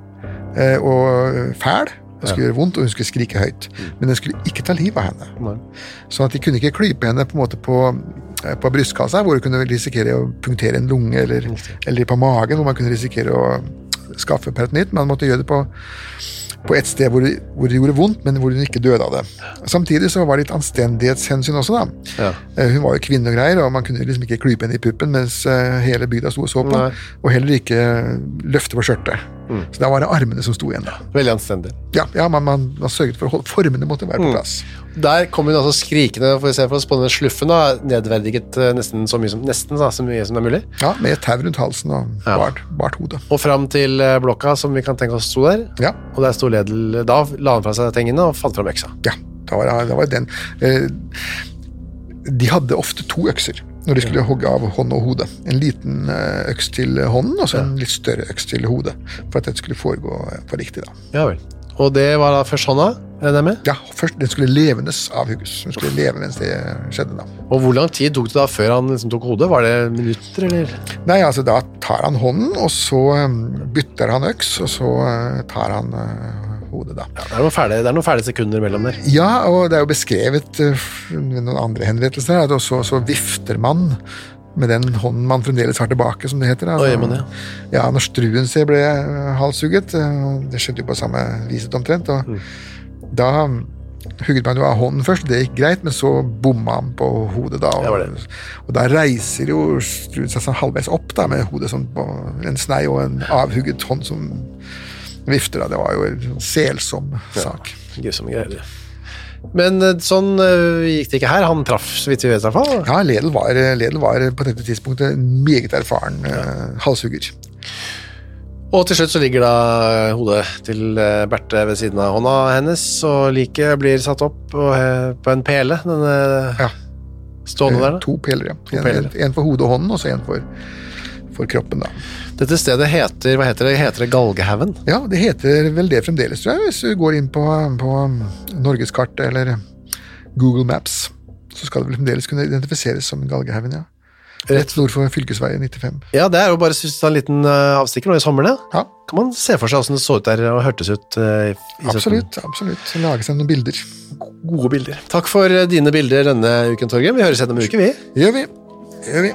[SPEAKER 7] eh, og fæl. Det skulle gjøre vondt, og hun skulle skrike høyt. Men den skulle ikke ta livet av henne.
[SPEAKER 6] Mm. Nei.
[SPEAKER 7] Sånn at de kunne ikke klype henne på, en måte på, eh, på brystkassa, hvor hun kunne risikere å punktere en lunge, eller, eller på magen, hvor man kunne risikere å skaffe peritonitt. Man måtte gjøre det på, på et sted hvor, det- hvor det gjorde vondt, men hvor hun ikke døde av det. Samtidig så var det litt anstendighetshensyn også, da.
[SPEAKER 6] Ja.
[SPEAKER 7] Eh, Hun var jo kvinne og greier, og man kunne liksom ikke klype henne i puppen mens eh, hele bygda sto og så på.
[SPEAKER 6] Nei. Mm.
[SPEAKER 7] Og heller ikke løfte på skjørtet. Så da var det armene som sto igjen. da.
[SPEAKER 6] Veldig anstendig.
[SPEAKER 7] Ja, ja man, man, man sørget for å holde Formene måtte være
[SPEAKER 6] Mm.
[SPEAKER 7] på plass.
[SPEAKER 6] Der kom hun altså skrikende for istedenfor å spåne sluffen, da, nedverdiget eh, nesten så mye som, nesten, da, så mye som det er mulig.
[SPEAKER 7] Ja, Med et tau rundt halsen og
[SPEAKER 6] Ja.
[SPEAKER 7] bart, bart hode.
[SPEAKER 6] Og fram til eh, blokka som vi kan tenke oss sto der.
[SPEAKER 7] Ja,
[SPEAKER 6] Og der sto Ledel Da la han fra seg tingene og fant fram øksa.
[SPEAKER 7] ja da, var, da var den. Eh, De hadde ofte to økser når de skulle hogge av hånd og hode. En liten eh, øks til hånden og så en litt større øks til hodet. For at dette skulle foregå eh, på riktig. da.
[SPEAKER 6] Ja vel. Og det var da først hånda, regner jeg med.
[SPEAKER 7] Ja, først, Den skulle levendes avhugges. Den skulle leve mens det skjedde. da.
[SPEAKER 6] Og hvor lang tid tok det da før han liksom tok hodet? Var det minutter, eller?
[SPEAKER 7] Nei, altså da tar han hånden, og så eh, bytter han øks, og så eh, tar han eh, hodet, da.
[SPEAKER 6] Det er noen fæle, det er noen fæle sekunder mellom der.
[SPEAKER 7] Ja, og det er jo beskrevet eh, ved noen andre henrettelser her, at også så vifter man med den hånden man fremdeles har tilbake, som det heter. da.
[SPEAKER 6] Å, gjør man det?
[SPEAKER 7] Ja, når Struensee ble eh, halshugget, eh, det skjedde jo på samme viset omtrent, og
[SPEAKER 6] Mm.
[SPEAKER 7] da um, hugget man jo av hånden først, det gikk greit, men så bomma han på hodet da.
[SPEAKER 6] Det var
[SPEAKER 7] Og,
[SPEAKER 6] det.
[SPEAKER 7] og da reiser jo Struensee seg sånn halvveis opp da, med hodet sånn på en snei og en avhugget hånd som vifter da. Det var jo en selsom sak.
[SPEAKER 6] Grusomme greier. det. Men eh, sånn eh, gikk det ikke her. Han traff, så vidt vi vet i hvert fall.
[SPEAKER 7] Ja, Ledel var, Ledel var på dette tidspunktet en meget erfaren eh, halshugger.
[SPEAKER 6] Og til slutt så ligger da hodet til eh, Berthe ved siden av hånda hennes, og liket blir satt opp og, eh, på en pele, denne
[SPEAKER 7] Ja.
[SPEAKER 6] stående der. Da.
[SPEAKER 7] Eh, To peler, ja. En,
[SPEAKER 6] peler.
[SPEAKER 7] en- en for hodet og hånden, og så en for, for kroppen, da.
[SPEAKER 6] Dette stedet heter, hva heter det? Heter det Galgehaugen?
[SPEAKER 7] Ja, det heter vel det fremdeles, tror jeg, hvis du går inn på, på um, norgeskart eller Google Maps. Så skal det vel fremdeles kunne identifiseres som Galgehaugen, ja. Rett nord for fylkesveien 95.
[SPEAKER 6] Ja, det er jo bare synes, jeg, en liten eh, avstikker nå i sommeren, ja.
[SPEAKER 7] Ja,
[SPEAKER 6] Kan man se for seg hvordan det så ut der og hørtes ut eh, i 17?
[SPEAKER 7] absolutt. absolutt. Lage seg noen bilder.
[SPEAKER 6] Gode bilder. Takk for eh, dine bilder denne uken, Torgen. Vi høres igjen om en uke, vi.
[SPEAKER 7] Gjør vi. Gjør vi.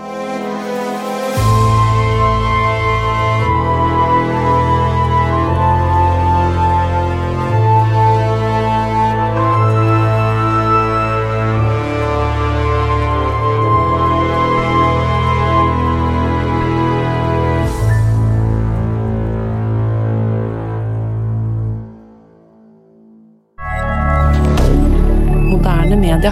[SPEAKER 8] Moderne media.